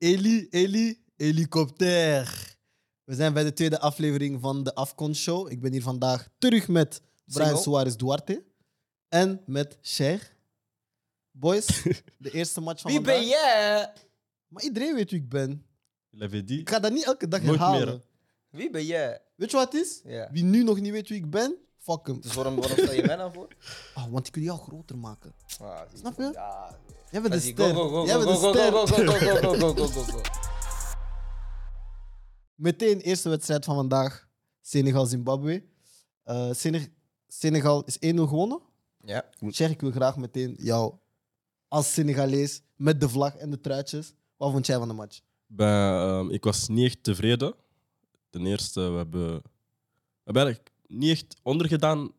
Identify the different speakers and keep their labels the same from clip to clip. Speaker 1: Eli, Eli, helikopter. We zijn bij de tweede aflevering van de Afcon Show. Ik ben hier vandaag terug met Brian
Speaker 2: Singo.
Speaker 1: Suarez Duarte en met Cher. Boys, de eerste match van
Speaker 2: Wie
Speaker 1: vandaag.
Speaker 2: ben jij?
Speaker 1: Maar iedereen weet wie ik ben.
Speaker 3: L'avait dit.
Speaker 1: Ik ga dat niet elke dag
Speaker 3: Nooit
Speaker 1: herhalen.
Speaker 3: meer.
Speaker 2: Wie ben jij?
Speaker 1: Weet je wat het is?
Speaker 2: Ja.
Speaker 1: Wie nu nog niet weet wie ik ben, fuck hem.
Speaker 2: Dus waarom, waarom stel je mij dan voor?
Speaker 1: Ah, want ik wil jou groter maken.
Speaker 2: Ah, zie
Speaker 1: Snap je?
Speaker 2: Ja.
Speaker 1: Jij bent de
Speaker 2: Zie, Go,
Speaker 1: ster.
Speaker 2: go, go,
Speaker 1: Jij
Speaker 2: go,
Speaker 1: bent
Speaker 2: go,
Speaker 1: de
Speaker 2: go,
Speaker 1: ster.
Speaker 2: go, go, go, go, go, go, go, go, go.
Speaker 1: Meteen eerste wedstrijd van vandaag. Senegal-Zimbabwe. Eh, Sene- Senegal is 1-0 gewonnen.
Speaker 2: Ja.
Speaker 1: Cher, ik wil graag meteen jou als Senegalees met de vlag en de truitjes. Wat vond jij van de match?
Speaker 3: Ben, ehm, ik was niet echt tevreden. Ten eerste, we hebben, we hebben eigenlijk niet echt ondergedaan.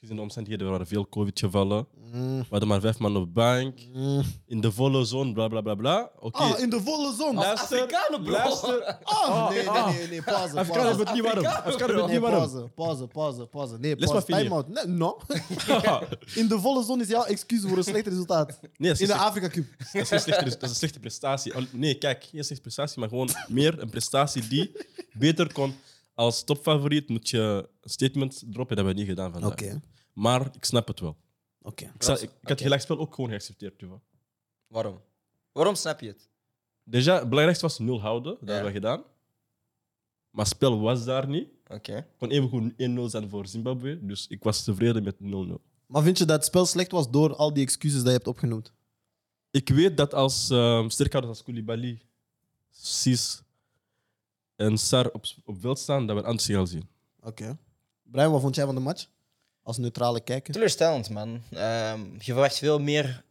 Speaker 3: Gezien de omstandigheden, er waren veel COVID-gevallen.
Speaker 1: Mm.
Speaker 3: We hadden maar vijf man op de bank. In de volle zone, bla bla bla bla. Oké,
Speaker 1: Ah, in de volle zon. Ah,
Speaker 2: Als Afrikanen, bro.
Speaker 3: luister.
Speaker 1: nee,
Speaker 3: Ah.
Speaker 1: nee, nee, nee, pauze.
Speaker 3: Afrikaan
Speaker 1: pauze.
Speaker 3: hebben het niet warm.
Speaker 2: Afrikaan,
Speaker 3: Afrikaan hebben het
Speaker 1: Nee,
Speaker 3: niet warm.
Speaker 1: pauze, pauze, pauze, pauze. Nee,
Speaker 3: Laat
Speaker 1: pauze.
Speaker 3: maar
Speaker 1: Time out. Nee, no. In de volle zon is jouw excuus voor een slecht resultaat.
Speaker 3: Nee, dat is,
Speaker 1: In
Speaker 3: een
Speaker 1: de
Speaker 3: slecht-
Speaker 1: Afrika Cup.
Speaker 3: dat, is een slechte, dat is een slechte prestatie. Al- Nee, kijk, geen slechte prestatie, maar gewoon meer een prestatie die beter kon. Als topfavoriet moet je een statement droppen. Dat hebben we niet gedaan vandaag. Maar ik snap het wel.
Speaker 1: oké.
Speaker 3: Ik, sta- ik, ik had het
Speaker 2: Oké.
Speaker 3: gelijkspel ook gewoon geaccepteerd. Joh.
Speaker 2: Waarom? Waarom snap je het?
Speaker 3: Déjà, het belangrijkste was nul houden. Dat
Speaker 2: Ja.
Speaker 3: hebben we gedaan. Maar spel was daar niet.
Speaker 2: Oké.
Speaker 3: Het kon even goed 1-0 zijn voor Zimbabwe. Dus ik was tevreden met 0-0.
Speaker 1: Maar vind je dat het spel slecht was door al die excuses die je hebt opgenoemd?
Speaker 3: Ik weet dat als ehm sterkhouders als Koulibaly, Sis en Sar op, op veld staan, dat we een ander signaal zien.
Speaker 1: Oké. Brian, wat vond jij van de match? Als neutrale kijker.
Speaker 2: Teleurstellend, man. Ehm, je verwacht veel meer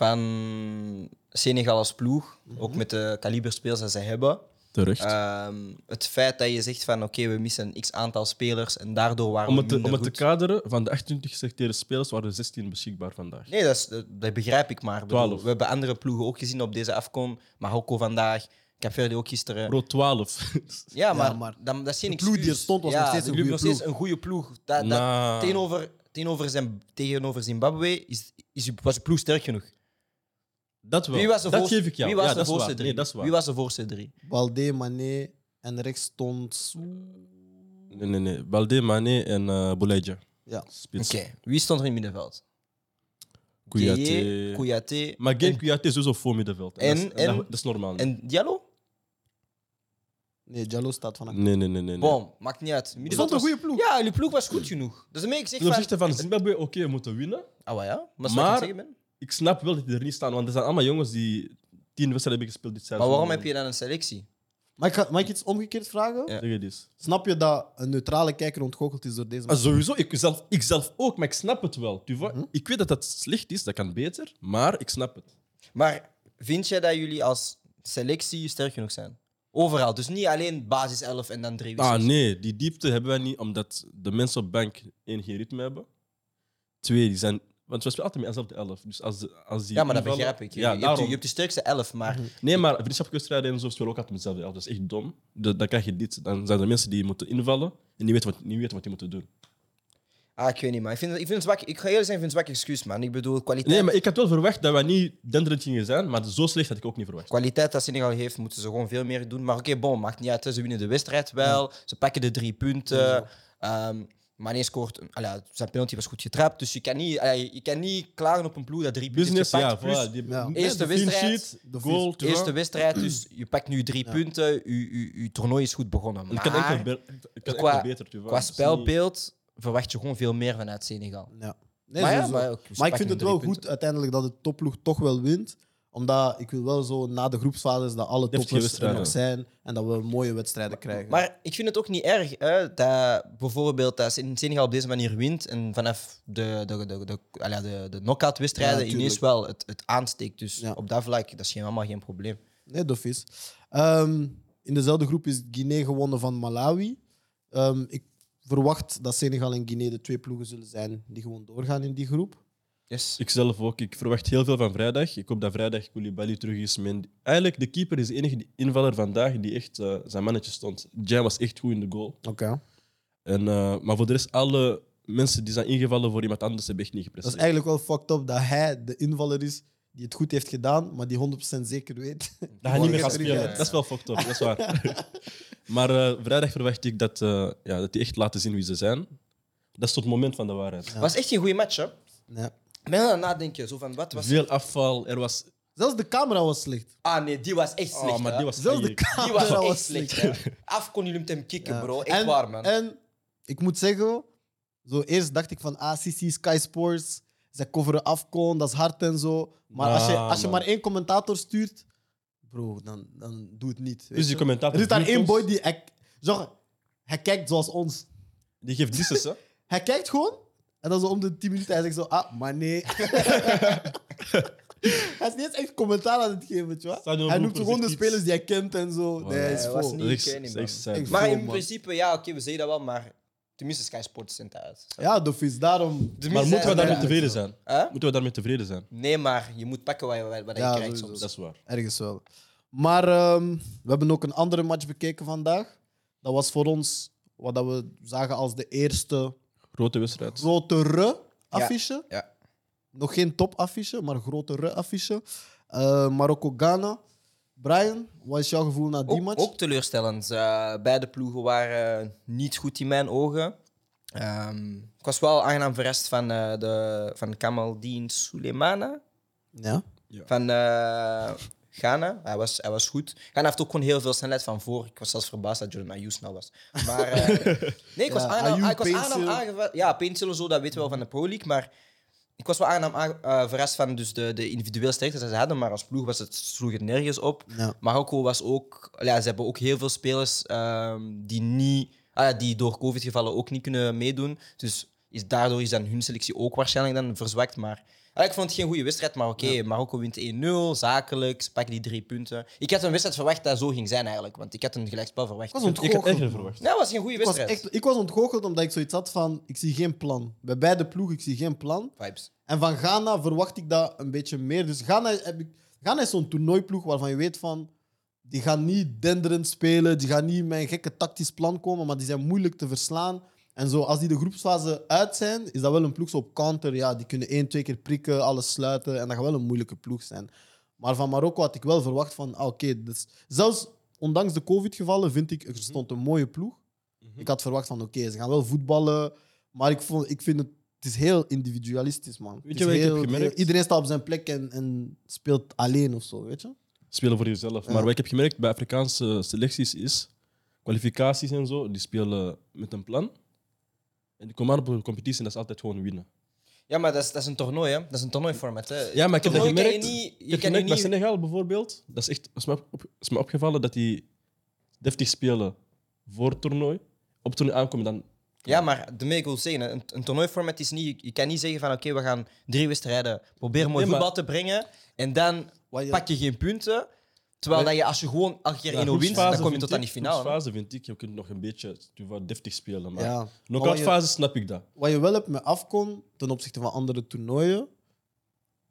Speaker 2: van Senegal als ploeg. Ook
Speaker 1: Mhm.
Speaker 2: met de kaliberspelers dat ze hebben.
Speaker 3: Terecht.
Speaker 2: Ehm, het feit dat je zegt van oké, we missen x aantal spelers en daardoor waren
Speaker 3: om
Speaker 2: we
Speaker 3: het, te,
Speaker 2: minder
Speaker 3: om het te
Speaker 2: goed.
Speaker 3: kaderen, van de 28 geselecteerde spelers waren er 16 beschikbaar vandaag.
Speaker 2: Nee, dat, is, dat, dat begrijp ik maar. Ik bedoel,
Speaker 3: Twaalf.
Speaker 2: we hebben andere ploegen ook gezien op deze afkom. Marokko vandaag, Capverde ook gisteren.
Speaker 3: Pro 12.
Speaker 2: Ja, maar,
Speaker 1: maar
Speaker 2: dan, dat is geen
Speaker 1: de ploeg die er
Speaker 2: excuus.
Speaker 1: stond was
Speaker 2: Ja,
Speaker 1: nog steeds
Speaker 2: de
Speaker 1: een
Speaker 2: ploeg
Speaker 1: goede
Speaker 2: nog steeds een goede ploeg. Dat, dat,
Speaker 3: Nou.
Speaker 2: tegenover, tegenover, Zim- tegenover Zimbabwe is, is, was de ploeg sterk genoeg.
Speaker 3: dat wel.
Speaker 2: Wie was de
Speaker 3: dat
Speaker 2: voorste-
Speaker 3: geef ik jou.
Speaker 2: Wie was
Speaker 3: ja,
Speaker 2: de
Speaker 3: dat is
Speaker 2: voorste
Speaker 3: waar.
Speaker 2: drie?
Speaker 3: Nee, dat is waar.
Speaker 2: Wie was de voorste drie?
Speaker 1: Balde, Mané en rechts stond... Sou-
Speaker 3: Nee, nee, nee. Balde, Mane en eh Boulaye.
Speaker 1: Ja.
Speaker 3: Spits.
Speaker 2: Oké, wie stond er in het middenveld? Gueye,
Speaker 3: Kouyaté.
Speaker 2: Kouyaté
Speaker 3: Maar Game
Speaker 2: en,
Speaker 3: Kouyaté is sowieso voor middenveld.
Speaker 2: En-
Speaker 3: En, dat, is,
Speaker 2: en-
Speaker 3: dat, dat is normaal. niet.
Speaker 2: en Diallo?
Speaker 1: Nee, Jallo staat vanaf.
Speaker 3: nee, nee, nee. nee, nee.
Speaker 2: Bom, maakt niet uit.
Speaker 1: Het stond
Speaker 2: Middenveld
Speaker 1: een
Speaker 2: was-
Speaker 1: goede ploeg.
Speaker 2: Ja, jullie ploeg was goed genoeg. Dus daarmee ik zeg
Speaker 3: Ten opzichte
Speaker 2: van...
Speaker 3: van Zimbabwe, oké, we moeten winnen.
Speaker 2: Ah, wel ja, maar,
Speaker 3: Maar-
Speaker 2: maar, zeggen ben.
Speaker 3: Ik snap wel dat die er niet staan, want er zijn allemaal jongens die tien wedstrijden hebben gespeeld dit seizoen.
Speaker 2: maar waarom heb je dan een selectie?
Speaker 1: Mag ik, ga- mag ik iets omgekeerd vragen?
Speaker 2: Ja.
Speaker 3: Zeg het eens.
Speaker 1: Snap je dat een neutrale kijker ontgoocheld is door deze
Speaker 3: Maar
Speaker 1: match?
Speaker 3: sowieso, ik zelf, ik zelf ook, maar ik snap het wel. Tu
Speaker 2: Mhm.
Speaker 3: vois? Ik weet dat dat slecht is, dat kan beter, maar ik snap het.
Speaker 2: Maar vind jij dat jullie als selectie sterk genoeg zijn? Overal. Dus niet alleen basis 11 en dan drie
Speaker 3: Ah
Speaker 2: wissels.
Speaker 3: nee, die diepte hebben wij niet, omdat de mensen op bank één geen ritme hebben. Twee, die zijn... Want we spelen altijd met dezelfde elf. Dus als, als die
Speaker 2: Ja, maar dat
Speaker 3: invallen-
Speaker 2: begrijp ik. Je,
Speaker 3: Ja,
Speaker 2: je, hebt,
Speaker 3: daarom. Mhm.
Speaker 2: de- je hebt de sterkste 11, maar
Speaker 3: Nee, maar vriendschapswedstrijden en zo spelen ook altijd met dezelfde elf. Dat is echt dom. Da- dan krijg je dit. Dan zijn er mensen die moeten invallen en die weten wat, niet weten wat die moeten doen.
Speaker 2: ah, ik weet niet, man. Ik, vind, ik, vind het zwak, ik ga eerlijk zijn, ik vind het zwak excuus, man. Ik bedoel, kwaliteit,
Speaker 3: Nee, maar ik had wel verwacht dat we niet denderend gingen zijn, maar zo slecht had ik ook niet verwacht.
Speaker 2: kwaliteit dat Senegal heeft, moeten ze gewoon veel meer doen. Maar oké, bon, maakt niet uit. hè. Ze winnen de wedstrijd wel, ze pakken de drie punten. Ehm Mané scoort, een- allee, zijn penalty was goed getrapt. Dus je kan niet, allee, je kan niet klagen op een ploeg dat drie punten
Speaker 3: Business,
Speaker 2: heeft gepakt.
Speaker 3: ja,
Speaker 2: plus
Speaker 3: voilà. Die,
Speaker 1: Ja.
Speaker 2: Eerste
Speaker 3: de clean
Speaker 2: wedstrijd,
Speaker 3: sheet,
Speaker 1: de
Speaker 3: goal, tu vois.
Speaker 2: Eerste wedstrijd, dus je pakt nu drie punten. Je, je, je toernooi is goed begonnen.
Speaker 3: Het kan enkel,
Speaker 2: Maar
Speaker 3: be- het kan
Speaker 2: qua-
Speaker 3: enkel beter, tu vois.
Speaker 2: qua
Speaker 3: Het is niet-
Speaker 2: spelbeeld verwacht je gewoon veel meer vanuit Senegal.
Speaker 1: Ja. Nee,
Speaker 2: Maar ja,
Speaker 1: sowieso.
Speaker 2: maar ook-
Speaker 1: maar
Speaker 2: ze
Speaker 1: ik
Speaker 2: pakken
Speaker 1: vind het
Speaker 2: drie
Speaker 1: wel
Speaker 2: punten.
Speaker 1: goed uiteindelijk dat de topploeg toch wel wint. Omdat ik wil wel zo na de groepsfase dat alle
Speaker 3: Deftige
Speaker 1: toppers er nog
Speaker 3: wedstrijden.
Speaker 1: zijn. En dat we mooie wedstrijden krijgen.
Speaker 2: Maar ik vind het ook niet erg hè, dat bijvoorbeeld dat Sen- Senegal op deze manier wint en vanaf de, de, de, de, ah ja, de, de knock-out-wedstrijden
Speaker 1: Ja, tuurlijk.
Speaker 2: ineens wel het, het aansteekt. Dus
Speaker 1: Ja.
Speaker 2: op dat vlak, dat is geen, allemaal geen probleem.
Speaker 1: Nee, dof is. Ehm, in dezelfde groep is Guinea gewonnen van Malawi. Ehm, ik verwacht dat Senegal en Guinea de twee ploegen zullen zijn die gewoon doorgaan in die groep.
Speaker 2: Yes.
Speaker 3: Ik zelf ook. Ik verwacht heel veel van vrijdag. Ik hoop dat vrijdag Koulibaly terug is. Mijn- Eigenlijk, de keeper is de enige die- invaller vandaag die echt eh, zijn mannetje stond. Jan was echt goed in de goal.
Speaker 1: Oké.
Speaker 3: En, eh, maar voor de rest, alle mensen die zijn ingevallen voor iemand anders hebben echt niet
Speaker 1: Dat is
Speaker 3: gepresteerd.
Speaker 1: eigenlijk wel fucked up dat hij de invaller is die het goed heeft gedaan, maar die 100% zeker weet.
Speaker 3: Dat hij niet meer gaat
Speaker 1: Morgen
Speaker 3: spelen.
Speaker 2: terug, ja.
Speaker 3: Dat is wel fucked up, dat is waar. maar eh, vrijdag verwacht ik dat, eh, ja, dat die echt laten zien wie ze zijn. Dat is tot het moment van de waarheid.
Speaker 1: Ja.
Speaker 2: was echt een goede match, hè?
Speaker 1: Nee.
Speaker 2: Ik ben aan het nadenken, zo van wat was.
Speaker 3: Veel afval, er was...
Speaker 1: Zelfs de camera was slecht.
Speaker 2: Ah nee, die was echt slecht.
Speaker 3: Oh, maar
Speaker 2: hè.
Speaker 3: die was
Speaker 1: Zelfs de
Speaker 3: eigenlijk-
Speaker 1: camera
Speaker 2: Die was echt
Speaker 1: was
Speaker 2: slecht.
Speaker 1: slecht.
Speaker 2: hè. Af kon jullie met hem kicken,
Speaker 1: Ja.
Speaker 2: bro. Echt
Speaker 1: en,
Speaker 2: waar, man.
Speaker 1: En ik moet zeggen, zo eerst dacht ik van ACC, Sky Sports, zij coveren Afcon, dat is hard en zo. Maar als, je,
Speaker 3: Nah,
Speaker 1: als je
Speaker 3: Ah, man.
Speaker 1: maar één commentator stuurt, bro, dan, dan doe het niet. weet
Speaker 3: Dus die
Speaker 1: je.
Speaker 3: commentator...
Speaker 1: er is daar
Speaker 3: doet
Speaker 1: één
Speaker 3: ons-
Speaker 1: boy die... Hij, zeg, hij kijkt zoals ons.
Speaker 3: Die geeft disses, hè.
Speaker 1: Hij kijkt gewoon. En dan zo om de 10 minuten, hij zegt zo, ah, maar nee. hij is niet eens echt commentaar aan het geven, tja.
Speaker 3: Stadion
Speaker 1: Hij noemt
Speaker 3: Roeper
Speaker 1: gewoon de
Speaker 3: zegt iets.
Speaker 1: spelers die hij kent en zo. Nee, hij is
Speaker 2: hij was
Speaker 1: vol.
Speaker 2: niet-
Speaker 3: Dat is
Speaker 2: ken
Speaker 3: echt-
Speaker 2: ik,
Speaker 3: dat is echt
Speaker 1: man.
Speaker 3: sad.
Speaker 1: Ik-
Speaker 2: maar
Speaker 1: Zo,
Speaker 2: in
Speaker 1: man.
Speaker 2: principe, ja, oké, we zeggen dat wel, maar tenminste Sky Sports zijn thuis.
Speaker 1: Ja, de vis, daarom.
Speaker 2: Tenminste,
Speaker 3: Maar moeten we
Speaker 2: zijn
Speaker 3: daarmee
Speaker 2: ze
Speaker 3: tevreden
Speaker 2: uit.
Speaker 3: zijn?
Speaker 2: Hè?
Speaker 3: Moeten we daarmee tevreden zijn?
Speaker 2: Nee, maar je moet pakken wat je, wat je
Speaker 1: Ja,
Speaker 2: krijgt
Speaker 1: sowieso.
Speaker 2: soms.
Speaker 3: Dat is waar.
Speaker 1: Ergens wel. Maar ehm, we hebben ook een andere match bekeken vandaag. Dat was voor ons wat dat we zagen als de eerste
Speaker 3: Grote wedstrijd.
Speaker 1: grotere affiche.
Speaker 2: ja.
Speaker 1: Nog geen topaffiche, maar grotere affiche. Eh Marokko-Ghana. Brian, wat is jouw gevoel na die
Speaker 2: ook,
Speaker 1: match?
Speaker 2: ook teleurstellend. Eh, beide ploegen waren eh, niet goed in mijn ogen. Ehm, ik was wel aangenaam verrast van, eh de, van Kamaldeen Suleimana
Speaker 1: Ja.
Speaker 2: van eh, Ghana. Hij was, hij was goed. Ghana heeft ook gewoon heel veel snelheid van voor. Ik was zelfs verbaasd dat Jordan Ayus snel was. Maar eh, nee, ik was
Speaker 1: Ja,
Speaker 2: aangenaam,
Speaker 1: Ayew,
Speaker 2: ik was aangenaam
Speaker 1: Pencil.
Speaker 2: aangevallen. Ja, Pencil en zo, dat weten we wel van de Pro League. Maar ik was wel aangenaam aange- eh, verrast van dus de, de individueel sterkte dat ze hadden. Maar als ploeg was het, sloeg het nergens op.
Speaker 1: Ja.
Speaker 2: Marokko was ook... Ja, ze hebben ook heel veel spelers ehm, die niet... ah ja, die door COVID-gevallen ook niet kunnen meedoen. Dus is, daardoor is dan hun selectie ook waarschijnlijk dan verzwakt. Maar ah, ik vond het geen goede wedstrijd, maar oké. Marokko wint 1-0, zakelijk. Ze pakken die drie punten. Ik had een wedstrijd verwacht dat zo ging zijn eigenlijk. Want ik had een gelijkspel verwacht.
Speaker 1: Ik was
Speaker 3: Ik had
Speaker 1: ontgoocheld.
Speaker 3: erger
Speaker 1: man.
Speaker 3: verwacht.
Speaker 2: Nee, dat was geen goede
Speaker 1: Ik was,
Speaker 2: wedstrijd.
Speaker 1: echt, ik was ontgoocheld omdat ik zoiets had van... Ik zie geen plan. Bij beide ploegen, ik zie geen plan.
Speaker 2: Vibes.
Speaker 1: En van Ghana verwacht ik dat een beetje meer. Dus Ghana, heb ik, Ghana is zo'n toernooiploeg waarvan je weet van... Die gaan niet denderend spelen. Die gaan niet met een gekke tactisch plan komen. Maar die zijn moeilijk te verslaan. En zo, als die de groepsfase uit zijn, is dat wel een ploeg zo op counter. Ja, die kunnen één, twee keer prikken, alles sluiten. En dat gaat wel een moeilijke ploeg zijn. Maar van Marokko had ik wel verwacht van... Ah, Oké, dus zelfs ondanks de covid-gevallen vind ik... Er stond een mooie ploeg.
Speaker 3: Mhm.
Speaker 1: Ik had verwacht van... Oké, ze gaan wel voetballen. Maar ik, vond, ik vind het... Het is heel individualistisch, man. Het
Speaker 3: Weet
Speaker 1: is
Speaker 3: je wat ik heb
Speaker 1: heel-
Speaker 3: gemerkt?
Speaker 1: heel- iedereen staat op zijn plek en, en speelt alleen of zo, weet je?
Speaker 3: Spelen voor jezelf. Maar wat ik heb gemerkt bij Afrikaanse selecties is... Kwalificaties en zo, die spelen met een plan. En die komen aan op een competitie en dat is altijd gewoon winnen.
Speaker 2: Ja, maar dat is, dat is een toernooi, hè? Dat is een toernooiformat, hè?
Speaker 3: Ja, maar ik heb dat
Speaker 2: Toernooi kan
Speaker 3: gemerkt.
Speaker 2: je niet.
Speaker 3: Ik
Speaker 2: Je
Speaker 3: heb
Speaker 2: kan je
Speaker 3: gemerkt bij
Speaker 2: niet.
Speaker 3: Senegal bijvoorbeeld. Dat is echt... Is me, op, is me opgevallen dat die deftig spelen voor het toernooi. Op het toernooi aankomen dan...
Speaker 2: Ja, maar daarmee ik wil zeggen, een, een toernooiformat is niet. Je kan niet zeggen van oké, we gaan drie wedstrijden proberen mooi
Speaker 3: Nee, maar-
Speaker 2: voetbal te brengen en dan
Speaker 1: Wat je-
Speaker 2: pak je geen punten. Terwijl
Speaker 3: Maar-
Speaker 2: dat je, als je gewoon elke keer
Speaker 3: Ja,
Speaker 2: 1-0 wint,
Speaker 3: groepsfase
Speaker 2: dan kom je
Speaker 3: vind
Speaker 2: tot aan
Speaker 3: ik-
Speaker 2: die finale. hè.
Speaker 3: Groepsfase vind ik, je kunt nog een beetje je wordt deftig spelen. Maar
Speaker 1: Ja.
Speaker 3: knock-outfase snap ik dat.
Speaker 1: Wat je wel hebt met afkon ten opzichte van andere toernooien,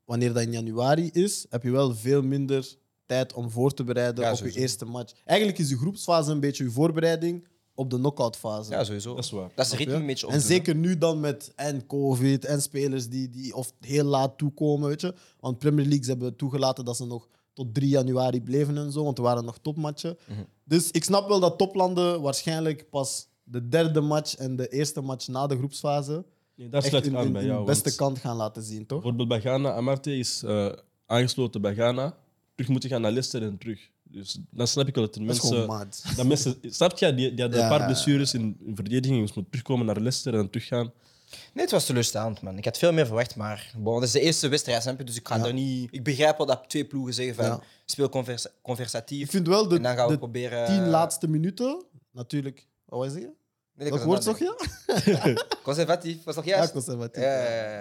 Speaker 1: wanneer dat in januari is, heb je wel veel minder tijd om voor te bereiden
Speaker 2: Ja,
Speaker 1: op
Speaker 2: sowieso.
Speaker 1: je eerste match. Eigenlijk is de groepsfase een beetje je voorbereiding op de knock-outfase.
Speaker 2: Ja, sowieso.
Speaker 3: Dat is waar.
Speaker 2: Dat is het
Speaker 1: Snap je?
Speaker 2: ritme een beetje op.
Speaker 1: En zeker nu dan met en COVID en spelers die, die of heel laat toekomen, weet je. Want Premier Leagues hebben toegelaten dat ze nog tot 3 januari bleven en zo, want er waren nog topmatchen.
Speaker 2: Mhm.
Speaker 1: Dus ik snap wel dat toplanden waarschijnlijk pas de derde match en de eerste match na de groepsfase
Speaker 3: Nee, daar
Speaker 1: echt
Speaker 3: sluit ik
Speaker 1: hun
Speaker 3: aan bij
Speaker 1: hun-
Speaker 3: jou.
Speaker 1: hun beste
Speaker 3: want
Speaker 1: kant gaan laten zien, toch?
Speaker 3: Bijvoorbeeld bij Ghana, Amarte is eh, aangesloten bij Ghana. Terug moeten gaan naar Leicester en terug. Dus dan snap ik wel dat de
Speaker 1: Dat is gewoon
Speaker 3: mensen...
Speaker 1: mad.
Speaker 3: Dat mensen snap je? Die, die hadden
Speaker 1: Ja.
Speaker 3: een paar blessures in, in verdediging. Dus moet terugkomen naar Leicester en dan teruggaan.
Speaker 2: Nee, het was teleurstellend, man. Ik had veel meer verwacht, maar bon, dat is de eerste wedstrijd, snap je? Dus ik ga daar niet. Ik begrijp wel dat twee ploegen zeggen van
Speaker 1: Ja.
Speaker 2: speel conversa- conversatief.
Speaker 1: Ik vind wel de,
Speaker 2: en dan gaan we
Speaker 1: de
Speaker 2: proberen. eh,
Speaker 1: tien laatste minuten, natuurlijk, wat was je?
Speaker 2: Nee, ik
Speaker 1: Welk
Speaker 2: was
Speaker 1: woord
Speaker 2: aan
Speaker 1: zag
Speaker 2: het
Speaker 1: je?
Speaker 2: nadenken. Conservatief, was toch
Speaker 1: Ja,
Speaker 2: juist?
Speaker 1: conservatief.
Speaker 2: Ja, ja,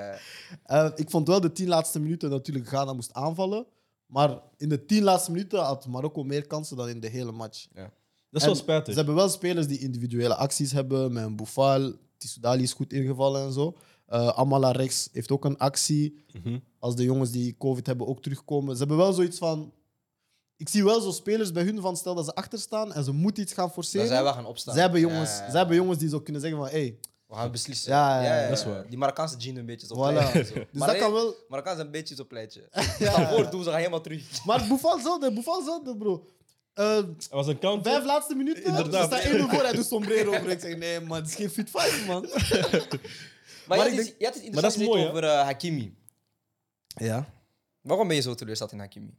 Speaker 2: ja.
Speaker 1: Eh, ik vond wel de tien laatste minuten natuurlijk Ghana moest aanvallen. Maar in de tien laatste minuten had Marokko meer kansen dan in de hele match.
Speaker 3: Dat is wel
Speaker 1: En
Speaker 3: spijtig.
Speaker 1: Ze hebben wel spelers die individuele acties hebben. Met een Boufal, Tissoudali is goed ingevallen en zo. Eh Amala rechts heeft ook een actie.
Speaker 3: Mhm.
Speaker 1: Als de jongens die COVID hebben ook terugkomen. Ze hebben wel zoiets van... Ik zie wel zo spelers bij hun van stel dat ze achterstaan en ze moeten iets gaan
Speaker 2: Dan
Speaker 1: forceren.
Speaker 2: zijn we gaan opstaan.
Speaker 1: Ze hebben jongens,
Speaker 2: Ja, ja, ja.
Speaker 1: ze hebben jongens die zo kunnen zeggen van... Hey,
Speaker 2: We gaan beslissen.
Speaker 1: Ja, ja, ja,
Speaker 3: dat is waar.
Speaker 2: Die Marokkaanse gene een beetje zo.
Speaker 1: Voilà.
Speaker 2: pleitje, zo.
Speaker 1: Dus
Speaker 2: Maar
Speaker 1: dat kan
Speaker 2: nee,
Speaker 1: wel.
Speaker 2: Marokkaans een beetje zo'n pleitje. Ga voor, doen ze gaan helemaal terug.
Speaker 1: Maar Buffon zelfde, Buffon zelfde, bro. Eh,
Speaker 3: Het was een counter.
Speaker 1: vijf laatste minuten,
Speaker 3: Inderdaad.
Speaker 1: er staat 1-0 voor, hij doet sombrero over. Ik zeg, nee man, het is geen fit fight, man.
Speaker 2: Maar,
Speaker 1: Maar
Speaker 2: je
Speaker 1: ik
Speaker 2: had iets- je had iets
Speaker 3: maar dat
Speaker 2: interessants
Speaker 3: is mooi,
Speaker 2: gezegd
Speaker 3: hè?
Speaker 2: over eh, Hakimi.
Speaker 1: Ja.
Speaker 2: Waarom ben je zo teleurgesteld in Hakimi?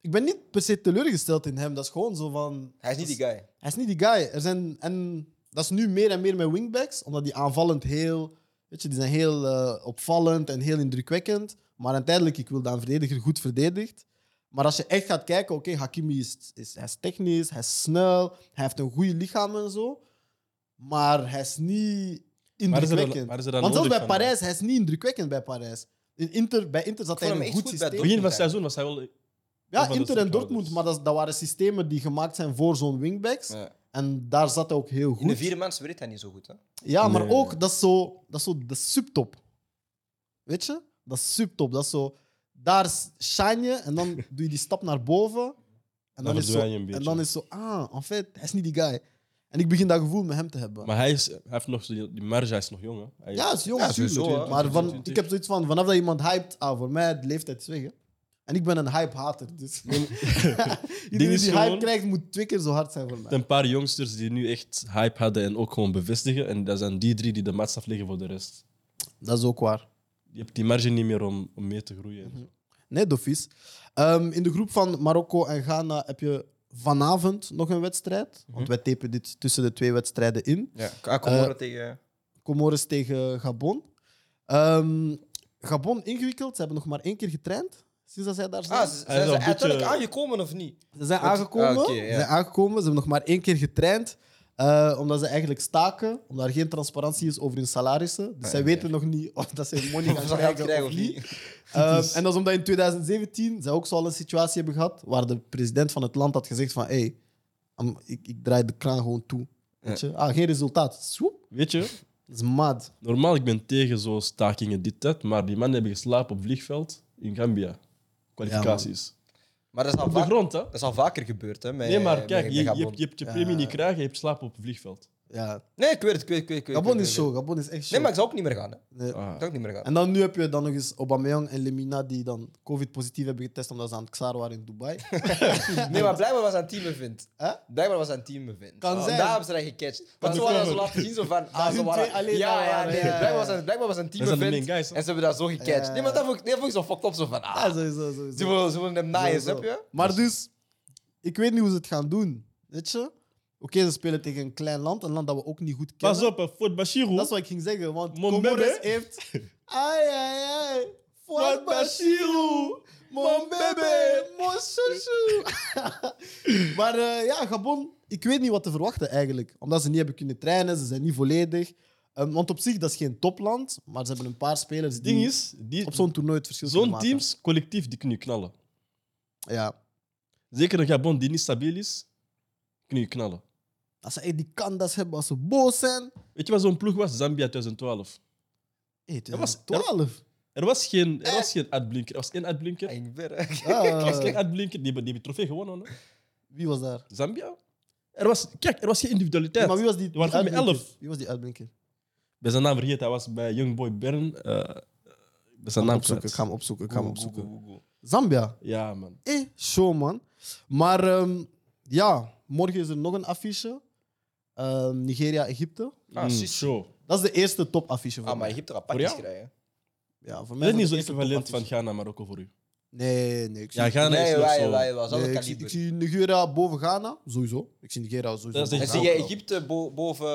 Speaker 1: Ik ben niet per se teleurgesteld in hem. Dat is gewoon zo van...
Speaker 2: Hij is niet die guy.
Speaker 1: Hij is niet die guy. Er zijn, en dat is nu meer en meer met wingbacks, omdat die aanvallend heel... Weet je, die zijn heel eh, opvallend en heel indrukwekkend. Maar uiteindelijk, ik wil dat een verdediger goed verdedigt. Maar als je echt gaat kijken, oké, Hakimi is, is, hij is technisch, hij is snel, hij heeft een goede lichaam en zo. Maar hij is niet
Speaker 3: Waar is er dan-
Speaker 1: indrukwekkend.
Speaker 3: waar is er dan
Speaker 1: Want zelfs bij
Speaker 3: nodig van?
Speaker 1: Parijs, hij is niet indrukwekkend bij Parijs. In Inter, bij Inter zat hij
Speaker 2: vond
Speaker 1: in
Speaker 2: hem
Speaker 1: een
Speaker 2: echt
Speaker 1: goed,
Speaker 2: goed bij
Speaker 1: systeem.
Speaker 3: Begin van het seizoen was hij wel...
Speaker 1: Ja,
Speaker 3: Of van de
Speaker 1: Inter en
Speaker 3: centraal
Speaker 1: Dortmund,
Speaker 3: dus.
Speaker 1: maar dat, dat waren systemen die gemaakt zijn voor zo'n wingbacks.
Speaker 2: Ja.
Speaker 1: En daar zat hij ook heel goed.
Speaker 2: In de vierde mensen weet hij niet zo goed. Hè?
Speaker 1: Ja, maar
Speaker 3: Nee.
Speaker 1: ook, dat is zo, dat is zo de subtop. Weet je? Dat is subtop. Dat is zo, daar s- shine je en dan doe je die stap naar boven. En dan,
Speaker 3: Dan
Speaker 1: is zo,
Speaker 3: verdwijn je een beetje.
Speaker 1: en dan is zo, ah, en fait, hij is niet die guy. En ik begin dat gevoel met hem te hebben.
Speaker 3: Maar hij, is, hij heeft nog zo- die marge, hij is nog jong. Hè. Hij-
Speaker 1: ja, het is jong,
Speaker 2: Ja,
Speaker 1: natuurlijk.
Speaker 2: sowieso, hè.
Speaker 1: Maar van,
Speaker 3: 20.
Speaker 1: ik heb zoiets van, vanaf dat iemand hypt, ah, voor mij, de leeftijd is weg, hè. En ik ben een hype-hater, dus... Iedereen die
Speaker 3: is
Speaker 1: hype
Speaker 3: gewoon-
Speaker 1: krijgt, moet twee keer zo hard zijn voor mij.
Speaker 3: Er zijn een paar jongsters die nu echt hype hadden en ook gewoon bevestigen. En dat zijn die drie die de maatstaf liggen voor de rest.
Speaker 1: Dat is ook waar.
Speaker 3: Je hebt die marge niet meer om, om mee te groeien.
Speaker 1: Mhm. Nee, doffies. Ehm, in de groep van Marokko en Ghana heb je vanavond nog een wedstrijd. Want wij tapen dit tussen de twee wedstrijden in.
Speaker 2: Ja. Ah,
Speaker 1: Eh,
Speaker 2: Komoro tegen...
Speaker 1: Comoros tegen Gabon. Ehm, Gabon ingewikkeld. Ze hebben nog maar één keer getraind sinds dat zij daar zijn.
Speaker 2: Ah, ze-
Speaker 1: ze,
Speaker 2: zijn ze
Speaker 3: een
Speaker 2: uiteindelijk
Speaker 3: beetje-
Speaker 2: aangekomen of niet?
Speaker 1: zijn
Speaker 2: wat-
Speaker 1: aangekomen,
Speaker 2: ah, oké,
Speaker 1: ze
Speaker 2: ja.
Speaker 1: zijn aangekomen. Ze hebben nog maar één keer getraind. eh, omdat ze eigenlijk staken, omdat er geen transparantie is over hun salarissen. Dus
Speaker 2: Ah,
Speaker 1: zij
Speaker 2: ja.
Speaker 1: weten nog niet of dat ze money
Speaker 2: Of ze
Speaker 1: gaan
Speaker 2: geld
Speaker 1: krijgen
Speaker 2: krijgen
Speaker 1: of
Speaker 2: of
Speaker 1: niet.
Speaker 2: niet? Dus-
Speaker 1: Ehm, en dat is omdat in 2017 ze ook zoal een situatie hebben gehad waar de president van het land had gezegd van hey, am- ik, ik draai de kraan gewoon toe. Weet je? Ah, geen resultaat. Swoep.
Speaker 3: Weet je,
Speaker 1: Dat is mad.
Speaker 3: normaal ik ben tegen zo'n stakingen dit tijd. Maar die mannen hebben geslapen op vliegveld in Gambia. Kwalificaties.
Speaker 2: Maar dat is al,
Speaker 3: op de
Speaker 2: vaak-
Speaker 3: grond, hè?
Speaker 2: dat is al vaker gebeurd. Hè, met-
Speaker 3: Nee, maar
Speaker 2: met-
Speaker 3: kijk,
Speaker 2: met
Speaker 3: je, je,
Speaker 2: Gabon.
Speaker 3: hebt, je hebt je premie niet krijgen, je hebt slapen op het vliegveld.
Speaker 1: Ja.
Speaker 2: Nee, ik weet het. Ik weet, het, ik weet, het, ik weet, het, ik
Speaker 1: Gabon
Speaker 2: weet
Speaker 1: is
Speaker 2: het.
Speaker 1: show. Gabon is echt show.
Speaker 2: Nee, maar ik zou ook niet meer gaan. Hè. Ik
Speaker 1: Nee.
Speaker 3: Ah.
Speaker 2: zou ook niet meer gaan.
Speaker 1: En dan nu heb je dan nog eens Aubameyang en Lemina die dan COVID-positief hebben getest omdat ze aan het xaar waren in Dubai.
Speaker 2: Nee, maar blijkbaar was aan team event.
Speaker 1: Hè?
Speaker 2: Blijkbaar was aan team event.
Speaker 1: Kan
Speaker 2: Oh.
Speaker 1: zijn.
Speaker 2: Daar hebben ze dat gecatcht. Want ze hadden zo laten zien, zo van... Ah,
Speaker 1: hun
Speaker 2: ze
Speaker 1: twee
Speaker 2: waren...
Speaker 1: alleen
Speaker 2: ja,
Speaker 1: daar
Speaker 2: ja,
Speaker 1: waren,
Speaker 2: nee.
Speaker 1: ja, ja.
Speaker 2: Blijkbaar was aan, blijkbaar was aan team
Speaker 3: Dat zijn de
Speaker 2: event.
Speaker 3: main guys, hè?
Speaker 2: en ze hebben dat zo gecatcht.
Speaker 1: Ja.
Speaker 2: Nee, maar dat vond ik, nee, vond ik zo fucked up. Zo van... Ah,
Speaker 1: Ah, sowieso, sowieso.
Speaker 2: ze willen ze willen hem naaien,
Speaker 1: Sowieso.
Speaker 2: snap je?
Speaker 1: Maar dus, ik weet niet hoe ze het gaan doen. Weet je? Oké, ze spelen tegen een klein land, een land dat we ook niet goed kennen.
Speaker 3: Pas op, hè, Fort Bashiru.
Speaker 1: Dat is wat ik ging zeggen, want
Speaker 3: Mon
Speaker 1: Comoros
Speaker 3: bébé.
Speaker 1: heeft... Ai, ai, ai. Fuad
Speaker 3: Fuad
Speaker 1: Bashiru. Mon
Speaker 3: Mon
Speaker 1: bébé.
Speaker 3: bébé.
Speaker 1: Mon chouchou. maar eh, ja, Gabon, ik weet niet wat te verwachten eigenlijk. Omdat ze niet hebben kunnen trainen, ze zijn niet volledig. Ehm, want op zich, dat is geen topland, maar ze hebben een paar spelers
Speaker 3: Het
Speaker 1: die
Speaker 3: ding is, die,
Speaker 1: op zo'n toernooi het verschil kunnen
Speaker 3: zo'n
Speaker 1: maken.
Speaker 3: teams collectief die kunnen knallen.
Speaker 1: Ja.
Speaker 3: Zeker een Gabon die niet stabiel is, kunnen je knallen.
Speaker 1: Als ze echt die kandas hebben, als ze boos zijn.
Speaker 3: Weet je wat zo'n ploeg was? Zambia 2012.
Speaker 1: Hey,
Speaker 3: Dat was-
Speaker 1: 2012.
Speaker 3: Er was geen, er was geen uitblinker. Er was één uitblinker.
Speaker 2: Hij
Speaker 3: Er
Speaker 2: ging ver, hè.
Speaker 3: was
Speaker 1: Ah,
Speaker 3: geen uitblinker. Die hebben die hebben trofee gewonnen. hè.
Speaker 1: wie was daar?
Speaker 3: Zambia? Er was, kijk, er was geen individualiteit.
Speaker 1: Ja, maar wie was die,
Speaker 3: Die waren
Speaker 1: die
Speaker 3: goed met
Speaker 1: uitblinker?
Speaker 3: elf.
Speaker 1: Wie was die uitblinker?
Speaker 3: Ik ben zijn naam vergeten. Hij was bij Youngboy Bern. eh, ik ben zijn
Speaker 1: Ik ga hem Ah,
Speaker 3: naam
Speaker 1: opzoeken, ik
Speaker 3: kwijt.
Speaker 1: ga hem opzoeken, ik ga hem opzoeken.
Speaker 2: Google, Google.
Speaker 1: Zambia.
Speaker 3: Ja, man.
Speaker 1: Eh, show man. Maar ehm, ja, morgen is er nog een affiche. Ehm, Nigeria-Egypte.
Speaker 2: Ah,
Speaker 3: Mm,
Speaker 2: shit.
Speaker 3: show.
Speaker 1: Dat is de eerste topaffiche voor
Speaker 2: Ah, maar
Speaker 1: mij.
Speaker 2: Egypte gaat pakjes
Speaker 3: Voor jou?
Speaker 2: krijgen.
Speaker 1: Ja, voor
Speaker 3: Dat is
Speaker 1: mij is
Speaker 3: niet zo
Speaker 1: dat de eerste
Speaker 3: equivalent van
Speaker 1: topaffiche.
Speaker 3: Ghana, Marokko voor u.
Speaker 1: Nee, nee. Ik zie,
Speaker 3: Ja, Ghana
Speaker 2: Nee,
Speaker 3: is nog
Speaker 2: wij,
Speaker 3: zo.
Speaker 2: wij, wij.
Speaker 1: nee,
Speaker 2: Zo'n
Speaker 1: ik, zie, ik
Speaker 2: kaliber.
Speaker 1: zie Nigeria boven Ghana, sowieso. Ik zie Nigeria sowieso.
Speaker 3: Dat is
Speaker 2: En
Speaker 1: boven
Speaker 3: echt-
Speaker 2: zie
Speaker 1: Ghana.
Speaker 2: je Egypte bo- boven,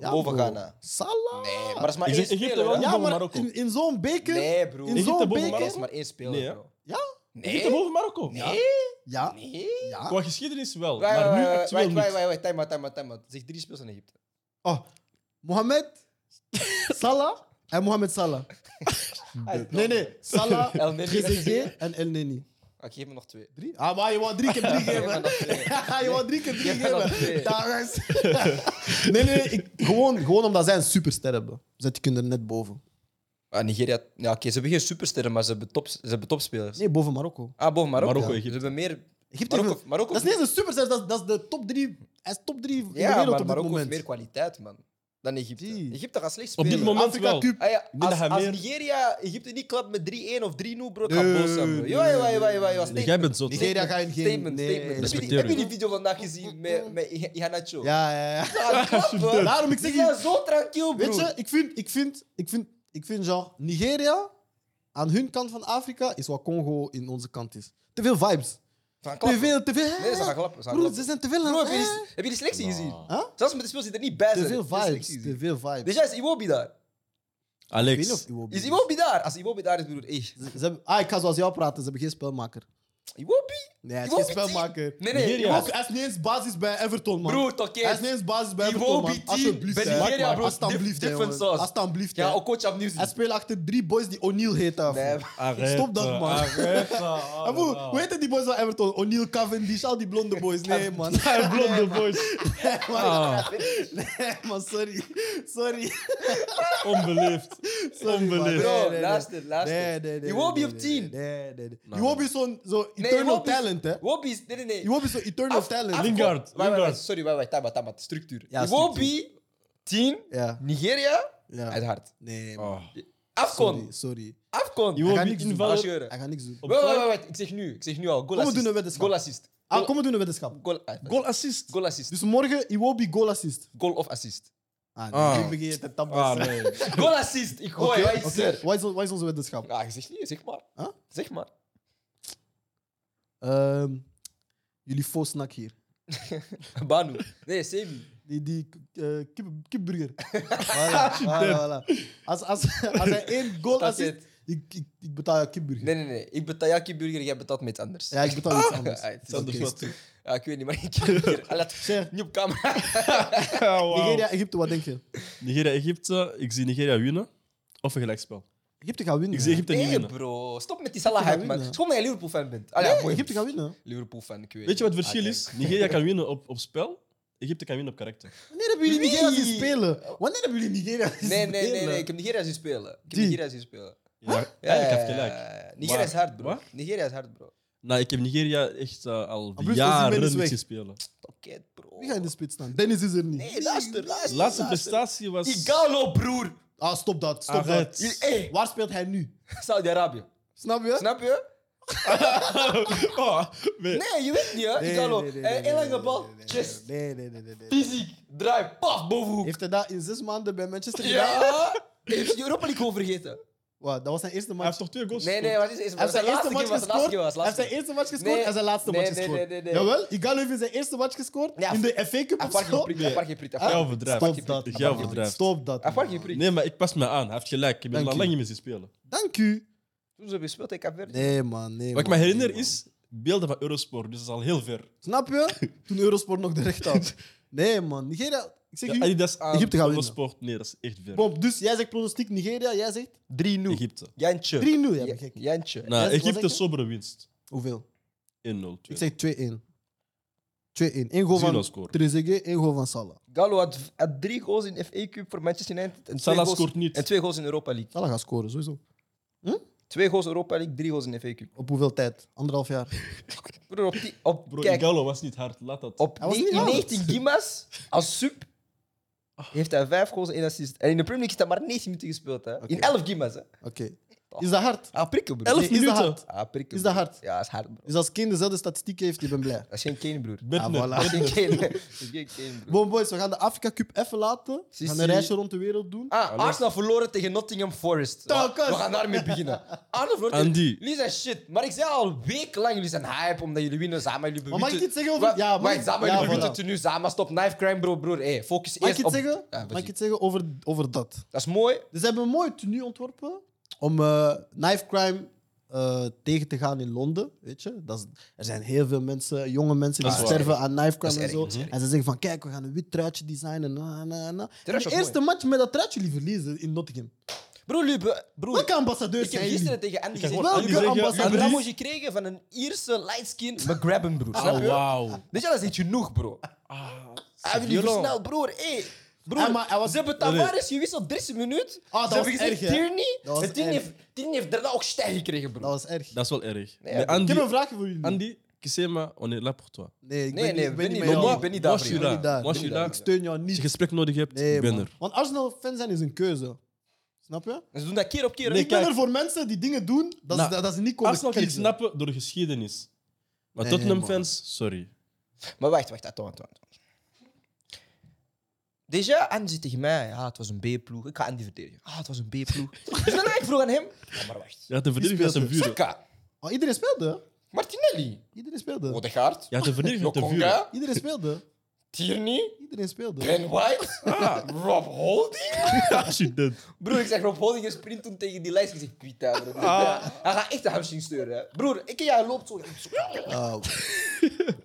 Speaker 1: Ja,
Speaker 2: boven
Speaker 1: bro.
Speaker 2: Ghana?
Speaker 1: Salah.
Speaker 2: Nee, maar dat is maar
Speaker 3: Ik
Speaker 2: één
Speaker 3: zeg Egypte
Speaker 2: speler.
Speaker 3: wel.
Speaker 2: hè?
Speaker 1: Ja,
Speaker 3: boven
Speaker 1: maar
Speaker 3: Marokko.
Speaker 1: in, in zo'n beker.
Speaker 2: Nee, bro.
Speaker 1: In
Speaker 3: Egypte
Speaker 1: zo'n beker.
Speaker 3: boven
Speaker 2: Dat is
Speaker 3: Marokko?
Speaker 2: maar één speler,
Speaker 3: Nee, hè?
Speaker 2: bro.
Speaker 1: Ja?
Speaker 2: Nee?
Speaker 3: Egypte boven Marokko?
Speaker 2: Nee?
Speaker 1: Ja.
Speaker 2: Nee?
Speaker 1: ja.
Speaker 3: Qua geschiedenis wel,
Speaker 2: Wacht,
Speaker 3: maar
Speaker 2: wacht,
Speaker 3: nu
Speaker 2: eh, wacht,
Speaker 3: actueel
Speaker 2: wacht, wacht,
Speaker 3: niet.
Speaker 2: wacht, wacht, time out, time out, time out. Zeg drie speels in Egypte.
Speaker 1: Oh, Mohamed, Salah en Mohamed Salah. Hm. Nee, nee. Salah,
Speaker 2: El Neni.
Speaker 1: Trezeguet en El Neni.
Speaker 2: Oké, geef me nog twee.
Speaker 1: Drie? Ah, maar je wou drie keer drie
Speaker 2: Geef me
Speaker 1: geven.
Speaker 2: nog twee.
Speaker 1: je wou drie keer drie
Speaker 2: Je hebt er nog
Speaker 1: geven.
Speaker 2: twee.
Speaker 1: Dagens. Nee, nee. Ik, gewoon, gewoon omdat zij een superster hebben. Dus die kunnen er net boven.
Speaker 2: Ah, Nigeria, ja, oké, ze hebben geen supersterren, maar ze hebben, top, ze hebben topspelers.
Speaker 1: Nee, boven Marokko.
Speaker 2: Ah, boven Marokko.
Speaker 3: Marokko,
Speaker 2: Ja.
Speaker 3: Egypte.
Speaker 2: Ze hebben meer.
Speaker 1: Egypte heeft
Speaker 2: Marokko, Marokko
Speaker 1: Dat is niet eens een superster. Dat is, dat is de top drie. Hij is top drie in de
Speaker 2: Ja,
Speaker 1: wereld
Speaker 2: maar
Speaker 1: op dit
Speaker 2: Marokko heeft
Speaker 1: moment.
Speaker 2: meer kwaliteit, man. dan Egypte.
Speaker 1: Zie.
Speaker 2: Egypte gaat slecht
Speaker 3: Op
Speaker 2: spelen.
Speaker 3: dit moment
Speaker 1: Afrika
Speaker 3: wel.
Speaker 1: Cup.
Speaker 2: Ah ja,
Speaker 3: denk
Speaker 2: als,
Speaker 3: dat hij
Speaker 2: als
Speaker 3: meer-
Speaker 2: Nigeria Egypte niet klapt met 3-1 of 3-0, bro, ik ga
Speaker 1: Nee,
Speaker 2: boos zijn, bro.
Speaker 1: nee,
Speaker 2: Ja, ja, ja, ja, ja, ja,
Speaker 3: Dus
Speaker 2: statement.
Speaker 3: jij bent zo.
Speaker 1: Nigeria ga je geen...
Speaker 2: Statement,
Speaker 1: nee.
Speaker 2: statement. Heb je die-
Speaker 3: Respecteer
Speaker 2: Heb je
Speaker 3: u.
Speaker 2: die video vandaag gezien met, met Ihanacho?
Speaker 1: Ja, ja, ja.
Speaker 2: Ja, klopt, bro.
Speaker 1: Daarom, ik zeg
Speaker 2: Die
Speaker 1: je-
Speaker 2: zijn zo tranquil, bro.
Speaker 1: Weet je, ik vind, ik vind, ik vind, ik vind genre Nigeria aan hun kant van Afrika is wat Congo in onze kant is. Te veel vibes.
Speaker 2: Van
Speaker 1: Te
Speaker 2: klappen.
Speaker 1: veel, te veel.
Speaker 2: Nee, ze gaan klappen. Ze gaan
Speaker 1: Broer,
Speaker 2: klappen.
Speaker 1: ze zijn te veel aan
Speaker 2: Bro, heb je
Speaker 1: hè?
Speaker 2: die, heb je die selectie gezien?
Speaker 1: Huh?
Speaker 2: Zelfs met de speel zit er niet bij.
Speaker 1: Te
Speaker 2: zijn.
Speaker 1: veel
Speaker 2: Heb je die
Speaker 1: vibes.
Speaker 2: selectie
Speaker 1: Te
Speaker 2: gezien?
Speaker 1: veel vibes.
Speaker 2: Dus ja, is Iwobi daar?
Speaker 1: Ik weet niet of
Speaker 3: Alex.
Speaker 1: Iwobi
Speaker 2: Is Iwobi daar? Als Iwobi daar is, broer, eh.
Speaker 1: Ze, ze hebben, ah, ik ga zoals jou praten. Ze hebben geen spelmaker.
Speaker 2: Iwobi?
Speaker 1: Nee, hij is
Speaker 2: Iwobi
Speaker 1: geen spelmaker.
Speaker 2: Nee, nee.
Speaker 3: Nigeria.
Speaker 2: Iwobi-
Speaker 1: Ook, Hij is niet eens basis bij Everton, man.
Speaker 2: Broer, Toké.
Speaker 1: hij is niet eens basis bij Everton,
Speaker 2: Iwobi
Speaker 1: man.
Speaker 2: team
Speaker 1: Alsjeblieft,
Speaker 2: bij
Speaker 1: hè.
Speaker 2: Nigeria,
Speaker 1: Maak maar.
Speaker 2: bro. Dif-
Speaker 1: Alsjeblieft, hè,
Speaker 2: different
Speaker 1: jongen.
Speaker 2: sauce.
Speaker 1: Alsjeblieft,
Speaker 2: Ja,
Speaker 1: hè.
Speaker 2: ook coach opnieuw
Speaker 1: Hij
Speaker 2: zien.
Speaker 1: speelt achter drie boys die O'Neill heten.
Speaker 2: Nee,
Speaker 1: Stop dat, man. Ah,
Speaker 3: Oh,
Speaker 1: broer, hoe heet die boys van Everton? O'Neill, Cavendish, al die blonde boys. Nee, man.
Speaker 3: Hij blonde boys.
Speaker 1: Nee, man.
Speaker 3: Ah,
Speaker 1: Nee, man, sorry. Sorry.
Speaker 3: onbeleefd.
Speaker 1: Sorry, man.
Speaker 3: Onbeleefd.
Speaker 1: Nee,
Speaker 2: Bro,
Speaker 1: nee, nee.
Speaker 2: luister,
Speaker 1: Nee,
Speaker 2: luister.
Speaker 1: nee, nee.
Speaker 2: Iwobi
Speaker 1: nee,
Speaker 2: op
Speaker 1: nee,
Speaker 2: 10.
Speaker 1: Nee, nee, nee.
Speaker 3: Nou.
Speaker 1: Iwobi is zo'n zo'n
Speaker 2: Nee,
Speaker 1: eternal
Speaker 2: Iwobi is-
Speaker 1: talent, eh? hè.
Speaker 2: Iwobi is... Nee, nee, nee.
Speaker 1: Iwobi is zo'n eternal
Speaker 2: Af-
Speaker 1: talent.
Speaker 2: af-
Speaker 3: Lingard,
Speaker 2: Wacht, wacht, wacht,
Speaker 3: Lingard.
Speaker 2: Sorry, wacht, wacht, tabat, tabat. Structuur.
Speaker 1: Ja,
Speaker 2: Iwobi, 10,
Speaker 1: Ja,
Speaker 2: Nigeria, uit
Speaker 1: ja.
Speaker 2: hart.
Speaker 1: Nee, man.
Speaker 3: Ah.
Speaker 1: sorry.
Speaker 2: Afcon,
Speaker 1: Sorry.
Speaker 2: Afcon.
Speaker 3: Iwobi
Speaker 1: Hij gaat niks doen.
Speaker 3: invallen.
Speaker 2: Als je-
Speaker 1: Hij gaat niks doen.
Speaker 3: Op
Speaker 2: Wacht, wacht,
Speaker 3: vijf.
Speaker 2: wacht, wacht, ik zeg nu, ik zeg nu al. Goal
Speaker 1: we
Speaker 2: assist.
Speaker 1: doen een weddenschap.
Speaker 2: Goal assist.
Speaker 1: Ah, kom, we doen een weddenschap.
Speaker 2: Goal, ah,
Speaker 3: Goal assist.
Speaker 2: goal assist.
Speaker 1: Dus morgen Iwobi goal assist.
Speaker 2: Goal of assist.
Speaker 1: Ah, nee.
Speaker 3: Ah.
Speaker 1: Nu begin je te tappen.
Speaker 3: Ah, nee.
Speaker 2: Goal assist, ik
Speaker 1: Oké,
Speaker 2: gooi, wat is
Speaker 1: oké.
Speaker 2: er?
Speaker 1: Wat is on- wat is onze weddenschap?
Speaker 2: Ah, zeg niet, zeg maar.
Speaker 1: Huh?
Speaker 2: Zeg maar.
Speaker 1: Ehm, Jullie faux snack hier.
Speaker 2: Banu. Nee, Semi.
Speaker 1: Die, die eh, kip, kipburger. voilà, voilà, voilà. Als, als, als hij één goal
Speaker 2: Dat is
Speaker 1: assist,
Speaker 2: het.
Speaker 1: ik, ik, ik betaal jou kipburger.
Speaker 2: Nee, nee, nee. Ik betaal Jackie Burger, jij betaalt met iets anders.
Speaker 1: Ja, ik betaal iets anders.
Speaker 2: Ah, het is
Speaker 1: Dat is
Speaker 2: oké.
Speaker 1: oké.
Speaker 2: Ja, ik weet niet, maar ik heb hier... Ah, laat-
Speaker 1: Zeg,
Speaker 2: Niet op camera.
Speaker 3: Oh,
Speaker 1: Nigeria, Egypte, wat denk je?
Speaker 3: Nigeria-Egypte. Ik zie Nigeria winnen. Of een gelijkspel.
Speaker 1: Egypte gaat winnen.
Speaker 3: Ik zie Egypte niet
Speaker 2: Nee,
Speaker 3: winnen.
Speaker 2: bro. Stop met die salahheid, man.
Speaker 1: winnen.
Speaker 2: Het is gewoon dat je Liverpool-fan bent. Ah,
Speaker 1: Nee,
Speaker 2: ja, boy.
Speaker 1: Egypte gaat winnen.
Speaker 2: Liverpool-fan, ik weet
Speaker 3: Weet je wat het verschil
Speaker 2: Ah,
Speaker 3: is? Nigeria kan winnen op, op spel. Egypte kan winnen op karakter.
Speaker 1: Wanneer hebben jullie Nigeria
Speaker 2: Nee.
Speaker 1: zien spelen? Wanneer hebben jullie Nigeria zien
Speaker 2: Nee, nee, nee,
Speaker 1: spelen?
Speaker 2: nee. Ik heb Nigeria zien spelen. Ik heb
Speaker 1: Die.
Speaker 2: Nigeria zien spelen.
Speaker 3: Ja, ja, ik heb
Speaker 2: ja,
Speaker 3: gelijk.
Speaker 2: ja, ja. Eh, Nigeria
Speaker 3: Maar-
Speaker 2: is hard, bro.
Speaker 3: Wat?
Speaker 2: Nigeria is hard, bro.
Speaker 3: Nou, ik heb Nigeria echt eh, al
Speaker 1: Bruce Osimhen
Speaker 3: jaren
Speaker 1: is weg.
Speaker 3: niet gespeeld.
Speaker 2: Oké, bro.
Speaker 1: Wie gaat in de spits staan? Dennis is er niet.
Speaker 2: Nee, luister, luister.
Speaker 3: De laatste
Speaker 2: luister.
Speaker 3: prestatie was...
Speaker 2: Igalo, broer.
Speaker 1: Ah, stop dat. Stop
Speaker 3: Arrête.
Speaker 1: dat.
Speaker 2: Hey.
Speaker 1: Waar speelt hij nu?
Speaker 2: Saudi-Arabië.
Speaker 1: Snap je?
Speaker 2: Snap je?
Speaker 3: Oh, nee.
Speaker 2: Nee, je weet niet, hè?
Speaker 1: Nee,
Speaker 2: Igalo.
Speaker 1: nee, nee,
Speaker 2: Eh,
Speaker 1: nee,
Speaker 2: één
Speaker 1: nee,
Speaker 2: lange
Speaker 1: nee,
Speaker 2: bal.
Speaker 1: nee, nee,
Speaker 2: Chest.
Speaker 1: Nee, nee, nee, nee. nee, nee.
Speaker 2: Fysiek. Draai. Paf, bovenhoek.
Speaker 1: Heeft hij dat in zes maanden bij Manchester gedaan?
Speaker 2: Ja. Heeft je Europa League al vergeten?
Speaker 1: Wat, dat was zijn eerste
Speaker 3: Hij
Speaker 1: match.
Speaker 3: heeft toch twee goals
Speaker 2: Nee, nee,
Speaker 3: gescoord?
Speaker 2: wat is het?
Speaker 1: Hij heeft zijn eerste match gescoord. Hij heeft zijn eerste match gescoord
Speaker 2: Nee.
Speaker 1: en zijn laatste
Speaker 2: Nee,
Speaker 1: match
Speaker 2: nee,
Speaker 1: gescoord.
Speaker 2: nee, nee, nee.
Speaker 1: Jawel, Igalo heeft in zijn eerste match gescoord
Speaker 2: Ja,
Speaker 1: in de FA Cup. of
Speaker 2: Apart
Speaker 1: zo.
Speaker 2: geprikt, apart geprikt.
Speaker 1: Ah,
Speaker 3: Jij
Speaker 2: apart-
Speaker 3: overdrijft.
Speaker 1: Stop dat.
Speaker 3: Jij overdrijft.
Speaker 1: Stop dat.
Speaker 2: Apart
Speaker 1: man.
Speaker 2: geprikt.
Speaker 3: Nee, maar ik pas me aan. Hij heeft gelijk. Ik ben
Speaker 1: Dank
Speaker 3: al
Speaker 1: u.
Speaker 3: lang niet meer zien spelen.
Speaker 1: Dank u.
Speaker 2: Toen ze bespeeld in Capverde.
Speaker 1: Nee, man. Nee,
Speaker 3: Wat ik me
Speaker 1: man,
Speaker 3: herinner
Speaker 1: nee, man.
Speaker 3: is beelden van Eurosport. Dus dat is al heel ver.
Speaker 1: Snap je? Toen Eurosport nog de recht had. Nee, man. Nigeria. Ik zeg
Speaker 3: Ja,
Speaker 1: u.
Speaker 3: Adidas aan
Speaker 1: Egypte gaat winnen.
Speaker 3: Eurosport. Nee, dat is echt ver.
Speaker 1: Bom, dus jij zegt pronostiek Nigeria, jij zegt
Speaker 2: 3-0.
Speaker 3: Egypte.
Speaker 1: 3-0.
Speaker 2: Jantje.
Speaker 1: Ja,
Speaker 2: Ja-
Speaker 1: ben gek.
Speaker 2: Jantje.
Speaker 3: Nou,
Speaker 1: wat zeg
Speaker 3: Egypte
Speaker 1: je?
Speaker 3: sobere winst. 1-0.
Speaker 1: Hoeveel?
Speaker 3: 2.
Speaker 1: Ik zeg 2-1. 2-1. Eén goal
Speaker 3: Zero
Speaker 1: van
Speaker 3: scoren.
Speaker 1: Trezeguet, één goal van Salah.
Speaker 2: Galo had, had drie goals in FA Cup voor Manchester United. En twee
Speaker 3: Salah
Speaker 2: goals,
Speaker 3: scoort niet.
Speaker 2: En twee goals in Europa League.
Speaker 1: Salah gaat scoren, sowieso.
Speaker 2: Twee goals Europa League, drie goals in FA Cup.
Speaker 1: Op hoeveel tijd? Anderhalf jaar.
Speaker 2: Broer, op, die, op,
Speaker 3: Bro,
Speaker 2: kijk,
Speaker 3: Igalo was niet hard. Laat dat.
Speaker 2: op
Speaker 1: Hij was
Speaker 2: ne-
Speaker 1: niet
Speaker 2: in
Speaker 1: oud.
Speaker 2: 19 Gimas als sub heeft hij vijf goals en één assist. En in de Premier League is hij maar 19 minuten gespeeld. Hè. In 11 Gimas. Hè.
Speaker 1: Oké. Is dat hard?
Speaker 2: Ah, prikken, broer.
Speaker 1: Elf
Speaker 2: Nee,
Speaker 3: Elf
Speaker 1: is dat
Speaker 3: minuten.
Speaker 1: hard?
Speaker 2: Ah, prikken,
Speaker 1: Is dat
Speaker 2: broer.
Speaker 1: hard?
Speaker 2: Ja, dat is hard, bro.
Speaker 1: Dus als Kane dezelfde statistiek heeft, ik ben blij.
Speaker 2: Dat is geen Kane, broer.
Speaker 1: Ah,
Speaker 3: Bentner.
Speaker 1: voilà.
Speaker 2: Dat is geen Kane. Dat is geen Kane, broer.
Speaker 1: Bon, boys, we gaan de Afrika Cup even laten. We gaan een
Speaker 2: Sissi.
Speaker 1: reisje rond de wereld doen.
Speaker 2: Ah, Arsenal verloren tegen Nottingham Forest. We,
Speaker 1: Telkens.
Speaker 2: we gaan daarmee beginnen. Arsenal verloren tegen-
Speaker 3: Andy.
Speaker 2: Jullie zijn shit. Maar ik zei al wekenlang, jullie zijn hype omdat jullie winnen samen. Jullie
Speaker 1: Maar mag ik
Speaker 2: bewitten-
Speaker 1: iets zeggen over-
Speaker 2: Wa-
Speaker 1: Ja, mag
Speaker 2: wacht,
Speaker 1: ik-
Speaker 2: samen,
Speaker 1: ja,
Speaker 2: jullie
Speaker 1: voilà.
Speaker 2: bewitten het nu samen. Stop, knife crime, bro, broer. Hey, focus
Speaker 1: Mag ik
Speaker 2: eerst
Speaker 1: iets
Speaker 2: op...
Speaker 1: zeggen?
Speaker 2: Ja,
Speaker 1: Mag
Speaker 2: begin.
Speaker 1: ik iets zeggen over, over dat?
Speaker 2: Dat is mooi.
Speaker 1: Dus ze hebben een mooi tenue ontworpen om eh, knife crime eh, tegen te gaan in Londen. Weet je? Dat is, er zijn heel veel mensen, jonge mensen die
Speaker 3: Dat is waar.
Speaker 1: sterven aan knife crime
Speaker 2: Dat
Speaker 1: en
Speaker 2: is erg,
Speaker 1: zo.
Speaker 2: dat is erg.
Speaker 1: En ze zeggen van kijk, we gaan een wit truitje designen. Na, na, na. En
Speaker 2: Truitje
Speaker 1: de
Speaker 2: is
Speaker 1: eerste match met dat truitje jullie verliezen in Nottingham.
Speaker 2: Broer, jullie... be- Broer,
Speaker 1: Welke ambassadeur
Speaker 2: ik
Speaker 1: dus
Speaker 2: heb
Speaker 1: zijn jullie?
Speaker 2: gisteren tegen Andy
Speaker 3: kan
Speaker 2: gezegd...
Speaker 3: gewoon
Speaker 1: Welke
Speaker 3: Andy zeggen,
Speaker 1: ambassadeur?
Speaker 2: Een
Speaker 3: Andy-
Speaker 2: rammootje gekregen van een Ierse light-skinned McGrabben, broer. Snap
Speaker 3: Oh,
Speaker 2: je?
Speaker 3: wauw.
Speaker 2: Weet je, dat is niet genoeg, bro. Hij
Speaker 3: Ah,
Speaker 2: heeft jullie
Speaker 3: Violent.
Speaker 2: versneld, broer. Hey. Broer,
Speaker 1: Ah, maar hij was-
Speaker 2: ze hebben Tavares gewisseld 30 minuten.
Speaker 1: Ah, dat
Speaker 2: ze hebben
Speaker 1: was
Speaker 2: gezegd
Speaker 1: erg, hè?
Speaker 2: Tierney.
Speaker 1: Dat was
Speaker 2: en Tierney
Speaker 1: erg. Nou,
Speaker 2: heeft, Tierney heeft daarna ook stijl gekregen, broer.
Speaker 1: Dat was erg.
Speaker 3: Dat is wel erg.
Speaker 2: Nee,
Speaker 3: Nee,
Speaker 2: ja,
Speaker 1: Ik
Speaker 3: Andy,
Speaker 1: heb een vraagje voor jullie.
Speaker 3: Andy, Kissema, on est là pour toi.
Speaker 1: Nee, ik
Speaker 2: Nee,
Speaker 1: ben,
Speaker 2: nee,
Speaker 1: niet- ik ben niet met
Speaker 2: ik ben
Speaker 1: jou.
Speaker 2: niet- ik ben niet daar
Speaker 3: Was
Speaker 2: voor
Speaker 3: je
Speaker 2: jou.
Speaker 1: Ik ben
Speaker 3: daar?
Speaker 1: niet
Speaker 3: Was je
Speaker 1: Ik,
Speaker 3: daar?
Speaker 1: steun jou
Speaker 3: Als je
Speaker 1: niet.
Speaker 3: gesprek nodig hebt,
Speaker 1: Nee,
Speaker 3: ik ben
Speaker 1: man.
Speaker 3: er.
Speaker 1: Want Arsenal-fan zijn is een keuze. Snap je?
Speaker 2: En Ze doen dat keer op keer.
Speaker 3: Nee,
Speaker 1: ik ben
Speaker 3: kijk.
Speaker 1: er voor mensen die dingen doen dat,
Speaker 3: Nou,
Speaker 1: ze, dat ze niet konden
Speaker 3: Arsenal kan ik
Speaker 1: kiezen.
Speaker 3: snappen door geschiedenis. Maar
Speaker 1: Nee,
Speaker 3: Tottenham-fans, sorry.
Speaker 2: Maar wacht, wacht, Antoine, Antoine. Déjà, Andy zit tegen mij. Ja, het was een B-ploeg. Ik ga Andy verdedigen. Ah, het was een B-ploeg. dus dan ik vroeg aan hem. Ja, maar wacht.
Speaker 3: Je had de verdediging
Speaker 1: speelt
Speaker 3: met zijn
Speaker 1: er?
Speaker 3: vuren.
Speaker 2: Saka,
Speaker 1: Oh, iedereen speelde.
Speaker 2: Martinelli,
Speaker 1: Iedereen speelde.
Speaker 2: Odegaard,
Speaker 3: Je had de verdediging met zijn vuren.
Speaker 2: Lokonga,
Speaker 1: Iedereen speelde.
Speaker 2: Tierney,
Speaker 1: Iedereen speelde.
Speaker 2: Glenn White,
Speaker 3: Ah.
Speaker 2: Rob Holding.
Speaker 3: Accident.
Speaker 2: Broer, ik zeg Rob Holding sprint toen tegen die lijst. Ik zeg, Pita, broer. Hij gaat echt de hamstring steuren. hè. Broer, ik ken jou, hij loopt zo. Hij
Speaker 1: Ah,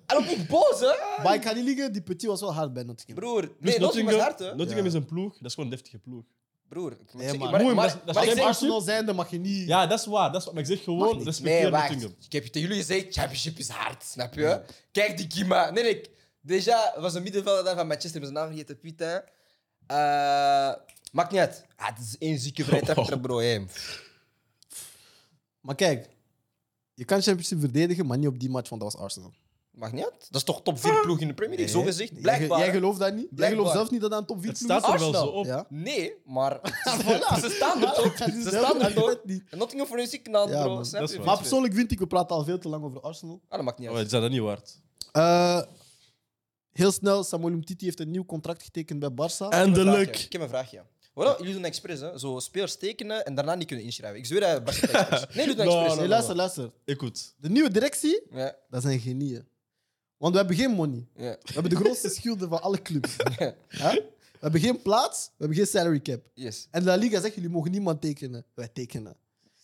Speaker 2: loopt niet boos, hè.
Speaker 1: maar ik ga niet liegen, die petit was wel hard bij Nottingham.
Speaker 2: Broer,
Speaker 3: Plus
Speaker 2: nee, Nottingham was hard, hè.
Speaker 3: Nottingham
Speaker 1: Ja.
Speaker 3: is een ploeg, dat is gewoon een deftige ploeg.
Speaker 2: Broer, ik
Speaker 1: Nee,
Speaker 2: zeg-
Speaker 1: man.
Speaker 2: maar-
Speaker 3: Mooi, maar
Speaker 2: maar-
Speaker 3: dat is- dat
Speaker 2: maar
Speaker 1: Als
Speaker 2: ik
Speaker 3: is
Speaker 1: je
Speaker 2: zeg-
Speaker 1: Arsenal zijnde mag je niet...
Speaker 3: Ja, dat is waar. Dat is, waar. maar ik zeg
Speaker 1: Mag
Speaker 3: gewoon,
Speaker 1: niet.
Speaker 3: respecteer
Speaker 2: Nee, wacht.
Speaker 3: Nottingham.
Speaker 2: Ik heb je tegen jullie gezegd, championship is hard, snap je? Kijk die Kima. Nee, nee. Deja was een middenvelder daar van Manchester, met zijn naam vergeten, Piet. hè. Eh, maakt niet uit. Ah, het is één zieke vrije trap, trap, bro. hè.
Speaker 1: Maar kijk, je kan Championship verdedigen, maar niet op die match, want dat was Arsenal.
Speaker 2: Maakt niet uit. Dat is toch top 4 ploeg in de Premier League, zo gezegd.
Speaker 1: Jij-
Speaker 2: Blijkbaar.
Speaker 1: Jij, gelooft dat niet? Jij
Speaker 2: Blijkbaar.
Speaker 1: gelooft zelf niet dat dat een top 4
Speaker 3: Het
Speaker 1: ploeg is?
Speaker 3: staat er wel zo
Speaker 2: Arsenal,
Speaker 3: op. Oh,
Speaker 1: Ja.
Speaker 2: Nee, maar
Speaker 1: Voilà.
Speaker 2: ze staan er toch.
Speaker 1: Het is
Speaker 2: Ze
Speaker 1: zelf
Speaker 2: staan er
Speaker 1: het
Speaker 2: toch.
Speaker 1: argument niet.
Speaker 2: En Nottingham voor een signal,
Speaker 1: Ja,
Speaker 2: bro.
Speaker 1: man,
Speaker 2: Snap
Speaker 3: dat is
Speaker 2: je?
Speaker 3: waar.
Speaker 1: Maar persoonlijk vind ik, we praten al veel te lang over Arsenal.
Speaker 2: Ah, dat maakt niet
Speaker 3: Ja, maar die
Speaker 2: uit.
Speaker 3: zijn dat niet waard.
Speaker 1: Eh, heel snel, Samuel Umtiti heeft een nieuw contract getekend bij Barça.
Speaker 3: Eindelijk.
Speaker 2: Ik heb een vraagje. Voilà, jullie doen expres, hè. Zo spelers tekenen en daarna niet kunnen inschrijven. Ik zweer dat Barca dat expres. Nee, jullie doen
Speaker 3: No,
Speaker 2: expres.
Speaker 3: no,
Speaker 1: Nee,
Speaker 2: hè.
Speaker 3: no.
Speaker 1: Dus luister, luister.
Speaker 3: Ik goed.
Speaker 1: De nieuwe directie,
Speaker 2: Ja,
Speaker 1: dat zijn genieën. Want we hebben geen money.
Speaker 2: ja.
Speaker 1: We hebben de grootste schulden van alle clubs. Hè? We hebben geen plaats, we hebben geen salary cap.
Speaker 2: Yes.
Speaker 1: En de La Liga zegt, jullie mogen niemand tekenen. Wij tekenen.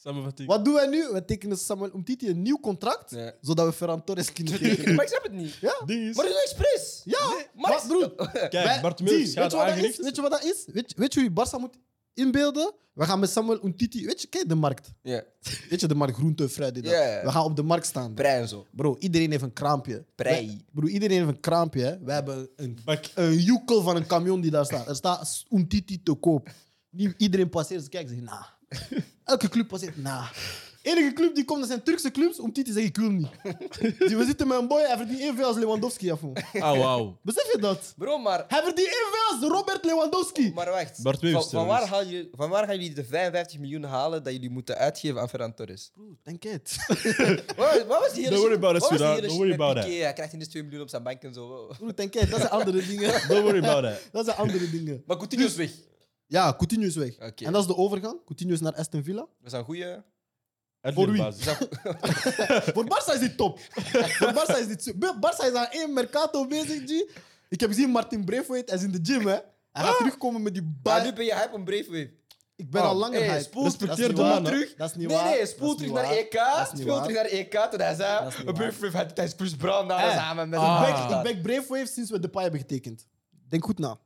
Speaker 3: Samenvatting.
Speaker 1: Wat doen wij nu? Wij tekenen Samuel Umtiti een nieuw contract,
Speaker 2: Ja.
Speaker 1: zodat we Ferran Torres kunnen tekenen.
Speaker 2: maar ik snap het niet.
Speaker 3: Ding is,
Speaker 2: Maar het is expres.
Speaker 1: Ja,
Speaker 2: maar
Speaker 1: wat, broer? Wij-
Speaker 3: kijk,
Speaker 1: die,
Speaker 3: Bartomeu
Speaker 1: weet,
Speaker 3: gaat
Speaker 1: je wat dat is?
Speaker 3: aangericht.
Speaker 1: weet je wat dat is? Weet, je- weet je hoe je Barça moet inbeelden? We gaan met Samuel Umtiti... Weet je, kijk de markt.
Speaker 2: Ja.
Speaker 1: Weet je, de markt groente, fruit. dit, dat.
Speaker 2: Ja, ja.
Speaker 1: We gaan op de markt staan.
Speaker 2: Brei en zo.
Speaker 1: Bro, iedereen heeft een kraampje.
Speaker 2: Prei.
Speaker 1: Wij- Bro, iedereen heeft een kraampje. Hè. We hebben een,
Speaker 3: Bak.
Speaker 1: een joekel van een camion die daar staat. Er staat Umtiti te koop. Die, iedereen passeert, ze kijken, ze zeggen, nah. Elke club passeert, nah. Enige club die komt, dat zijn Turkse clubs. Umtiti zegt, ik wil hem niet. Dus we zitten met een boy, hij verdient evenveel als Lewandowski. Afon.
Speaker 3: Ah, wauw.
Speaker 1: Besef je dat?
Speaker 2: Bro, maar,
Speaker 1: Hij verdient evenveel als Robert Lewandowski.
Speaker 2: Oh, maar wacht.
Speaker 3: Bart Meeuwis
Speaker 2: van, van, waar
Speaker 3: trouwens.
Speaker 2: haal je, van waar gaan jullie de 55 miljoen halen dat jullie moeten uitgeven aan Ferran Torres?
Speaker 1: Bro, Denk het.
Speaker 2: Wat, wat was die hele
Speaker 3: Don't worry
Speaker 2: shit-
Speaker 3: about it,
Speaker 2: wat was die
Speaker 3: sweetheart.
Speaker 2: hele
Speaker 3: Don't worry
Speaker 2: shit met
Speaker 3: about it.
Speaker 2: Piqué? Hij krijgt ineens 2 miljoen op zijn bank en zo.
Speaker 1: Bro, Denk het. Dat zijn andere dingen.
Speaker 3: Don't worry about that.
Speaker 1: Dat zijn andere dingen.
Speaker 2: Maar Coutinho is weg.
Speaker 1: Ja, Coutinho is weg.
Speaker 2: Oké.
Speaker 1: En dat is de overgang. Coutinho is naar Aston Villa.
Speaker 2: Dat is een goede.
Speaker 3: Edwin
Speaker 1: wie?
Speaker 3: Basis.
Speaker 1: Voor Barça is dit top. Voor Barça is dit super. Barça is aan één Mercato bezig, G. Ik heb gezien, Martin Braithwaite hij is in de gym, hè. Hij gaat terugkomen met die
Speaker 2: Ah! Maar
Speaker 1: bal.
Speaker 2: nu ben je hype om Braithwaite.
Speaker 1: Ik ben
Speaker 3: Ah,
Speaker 1: al langer
Speaker 2: hey,
Speaker 1: hype.
Speaker 2: spoel
Speaker 1: Dat is niet
Speaker 3: respecteer de
Speaker 1: waar.
Speaker 3: man, hè.
Speaker 2: Terug.
Speaker 1: Dat is niet
Speaker 2: nee,
Speaker 1: waar.
Speaker 2: nee,
Speaker 1: Dat
Speaker 2: spoel
Speaker 1: is
Speaker 2: terug
Speaker 1: niet
Speaker 2: naar
Speaker 1: waar.
Speaker 2: EK.
Speaker 1: Dat is niet
Speaker 2: Spoel
Speaker 1: waar.
Speaker 2: terug naar EK. Toen hij zei,
Speaker 1: Dat is niet waar.
Speaker 2: Braithwaite had tijdens Chris Brown daar
Speaker 1: Hey,
Speaker 2: samen met
Speaker 3: ah.
Speaker 2: een
Speaker 1: Ik back, ik back Braithwaite sinds we de paai hebben getekend. Denk goed na.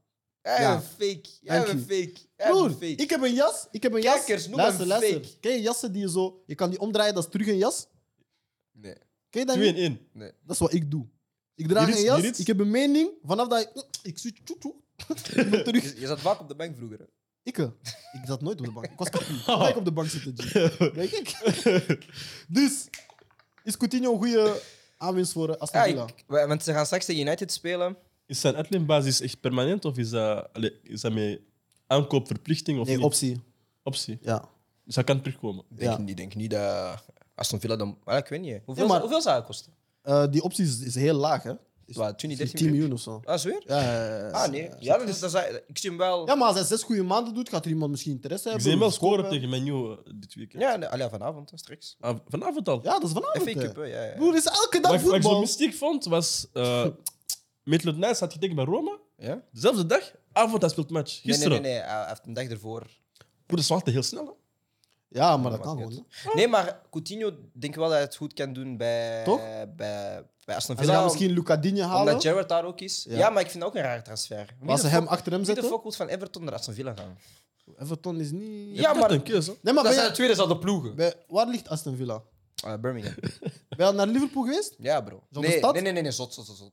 Speaker 2: Jij
Speaker 1: Ja.
Speaker 2: bent fake. Jij
Speaker 1: Thank
Speaker 2: bent
Speaker 1: you.
Speaker 2: fake. Jij
Speaker 1: Broer,
Speaker 2: bent fake.
Speaker 1: ik heb een jas. Ik heb een jas.
Speaker 2: Kijkers, noem
Speaker 1: luister,
Speaker 2: hem
Speaker 1: luister.
Speaker 2: fake.
Speaker 1: Ken je jassen die je zo... Je kan die omdraaien, dat is terug een jas.
Speaker 2: Nee,
Speaker 1: Ken je dat
Speaker 3: 2
Speaker 1: niet?
Speaker 3: in 1.
Speaker 2: nee.
Speaker 1: Dat is wat ik doe. Ik draag
Speaker 3: Hier is-
Speaker 1: een jas,
Speaker 3: hier is-
Speaker 1: ik heb een mening. Vanaf dat ik... Ik zit... tjoe, tjoe. Ik ben terug.
Speaker 2: Je, je zat vaak op de bank vroeger. hè?
Speaker 1: Ik? eh, Ik zat nooit op de bank. Ik was kampioen. Kijk op de bank zitten, G. Denk ik. Dus, is Coutinho een goede aanwinst voor eh, Aston
Speaker 2: Ja,
Speaker 1: Villa?
Speaker 2: ik, wij- want ze gaan straks tegen United spelen.
Speaker 3: Is zijn Edwin Basis echt permanent of is dat, allee, is dat met aankoopverplichting of
Speaker 1: Nee,
Speaker 3: niet?
Speaker 1: optie.
Speaker 3: optie?
Speaker 1: Ja.
Speaker 3: Dus hij kan terugkomen.
Speaker 2: Denk,
Speaker 1: Ja.
Speaker 2: niet, denk niet dat Aston Villa dan... Ah, ik weet niet. hè. Hoeveel,
Speaker 1: Ja, maar-
Speaker 2: hoeveel zou het kosten?
Speaker 1: Eh, die optie is, is heel laag, hè? Is
Speaker 2: Wat, 20, 13
Speaker 1: 10 miljoen of zo.
Speaker 2: Ah, zweer?
Speaker 1: Ja, ja, ja, ja.
Speaker 2: Ah, nee. Ja, dat is, dat is- ik zie hem wel...
Speaker 1: Ja, maar als hij zes goede maanden doet, gaat er iemand misschien interesse
Speaker 3: Ik
Speaker 1: hebben.
Speaker 3: zie hem wel
Speaker 1: Kopen.
Speaker 3: scoren tegen Menu eh, dit weekend.
Speaker 2: Ja, nee, ah, ja, vanavond, hè, straks.
Speaker 3: Ah, vanavond al.
Speaker 1: Ja, dat is
Speaker 2: FA
Speaker 1: vanavond.
Speaker 2: Cup,
Speaker 1: hè.
Speaker 2: hè, ja, ja.
Speaker 1: Broer, is elke dag
Speaker 3: Wat, ik- wat ik zo
Speaker 1: voetbal.
Speaker 3: mystiek vond was. eh Maitland Nice had getekend bij Roma.
Speaker 2: ja?
Speaker 3: Dezelfde dag, avond, hij speelt match.
Speaker 2: Nee, nee,
Speaker 3: Gisteren.
Speaker 2: nee, nee. Hij hij heeft een dag ervoor.
Speaker 1: Oh.
Speaker 3: Broer, dat is wel heel snel. Hè?
Speaker 1: Ja, maar dat
Speaker 2: Dat
Speaker 1: kan
Speaker 2: maakt
Speaker 1: gewoon. hè.
Speaker 2: Nee, maar Coutinho, denk wel dat hij het goed kan doen bij...
Speaker 1: Toch?
Speaker 2: Bij, bij Aston
Speaker 1: En
Speaker 2: Villa.
Speaker 1: ze gaan
Speaker 2: om-
Speaker 1: misschien Lucadinho halen.
Speaker 2: Omdat Gerrard daar ook is.
Speaker 1: Ja.
Speaker 2: Ja, maar ik vind dat ook een raar transfer. Wie
Speaker 1: Maar als ze
Speaker 2: de
Speaker 1: hem
Speaker 2: fuck-
Speaker 1: achter hem
Speaker 2: Wie de
Speaker 1: zetten.
Speaker 2: fuck moet van Everton naar Aston Villa gaan?
Speaker 1: Everton is niet.
Speaker 2: Ja,
Speaker 3: Dat
Speaker 2: maar-
Speaker 3: is een keuze. hè.
Speaker 1: Nee, maar
Speaker 2: dat
Speaker 1: ben
Speaker 2: zijn de
Speaker 1: je-
Speaker 2: tweede zal de ploegen.
Speaker 1: bij- waar ligt Aston Villa?
Speaker 2: Eh, Birmingham.
Speaker 1: Ben je al naar Liverpool geweest?
Speaker 2: Ja, bro.
Speaker 1: Zo'n
Speaker 2: Nee,
Speaker 1: stad?
Speaker 2: nee, nee, nee, nee, zot, zot, zot. zot.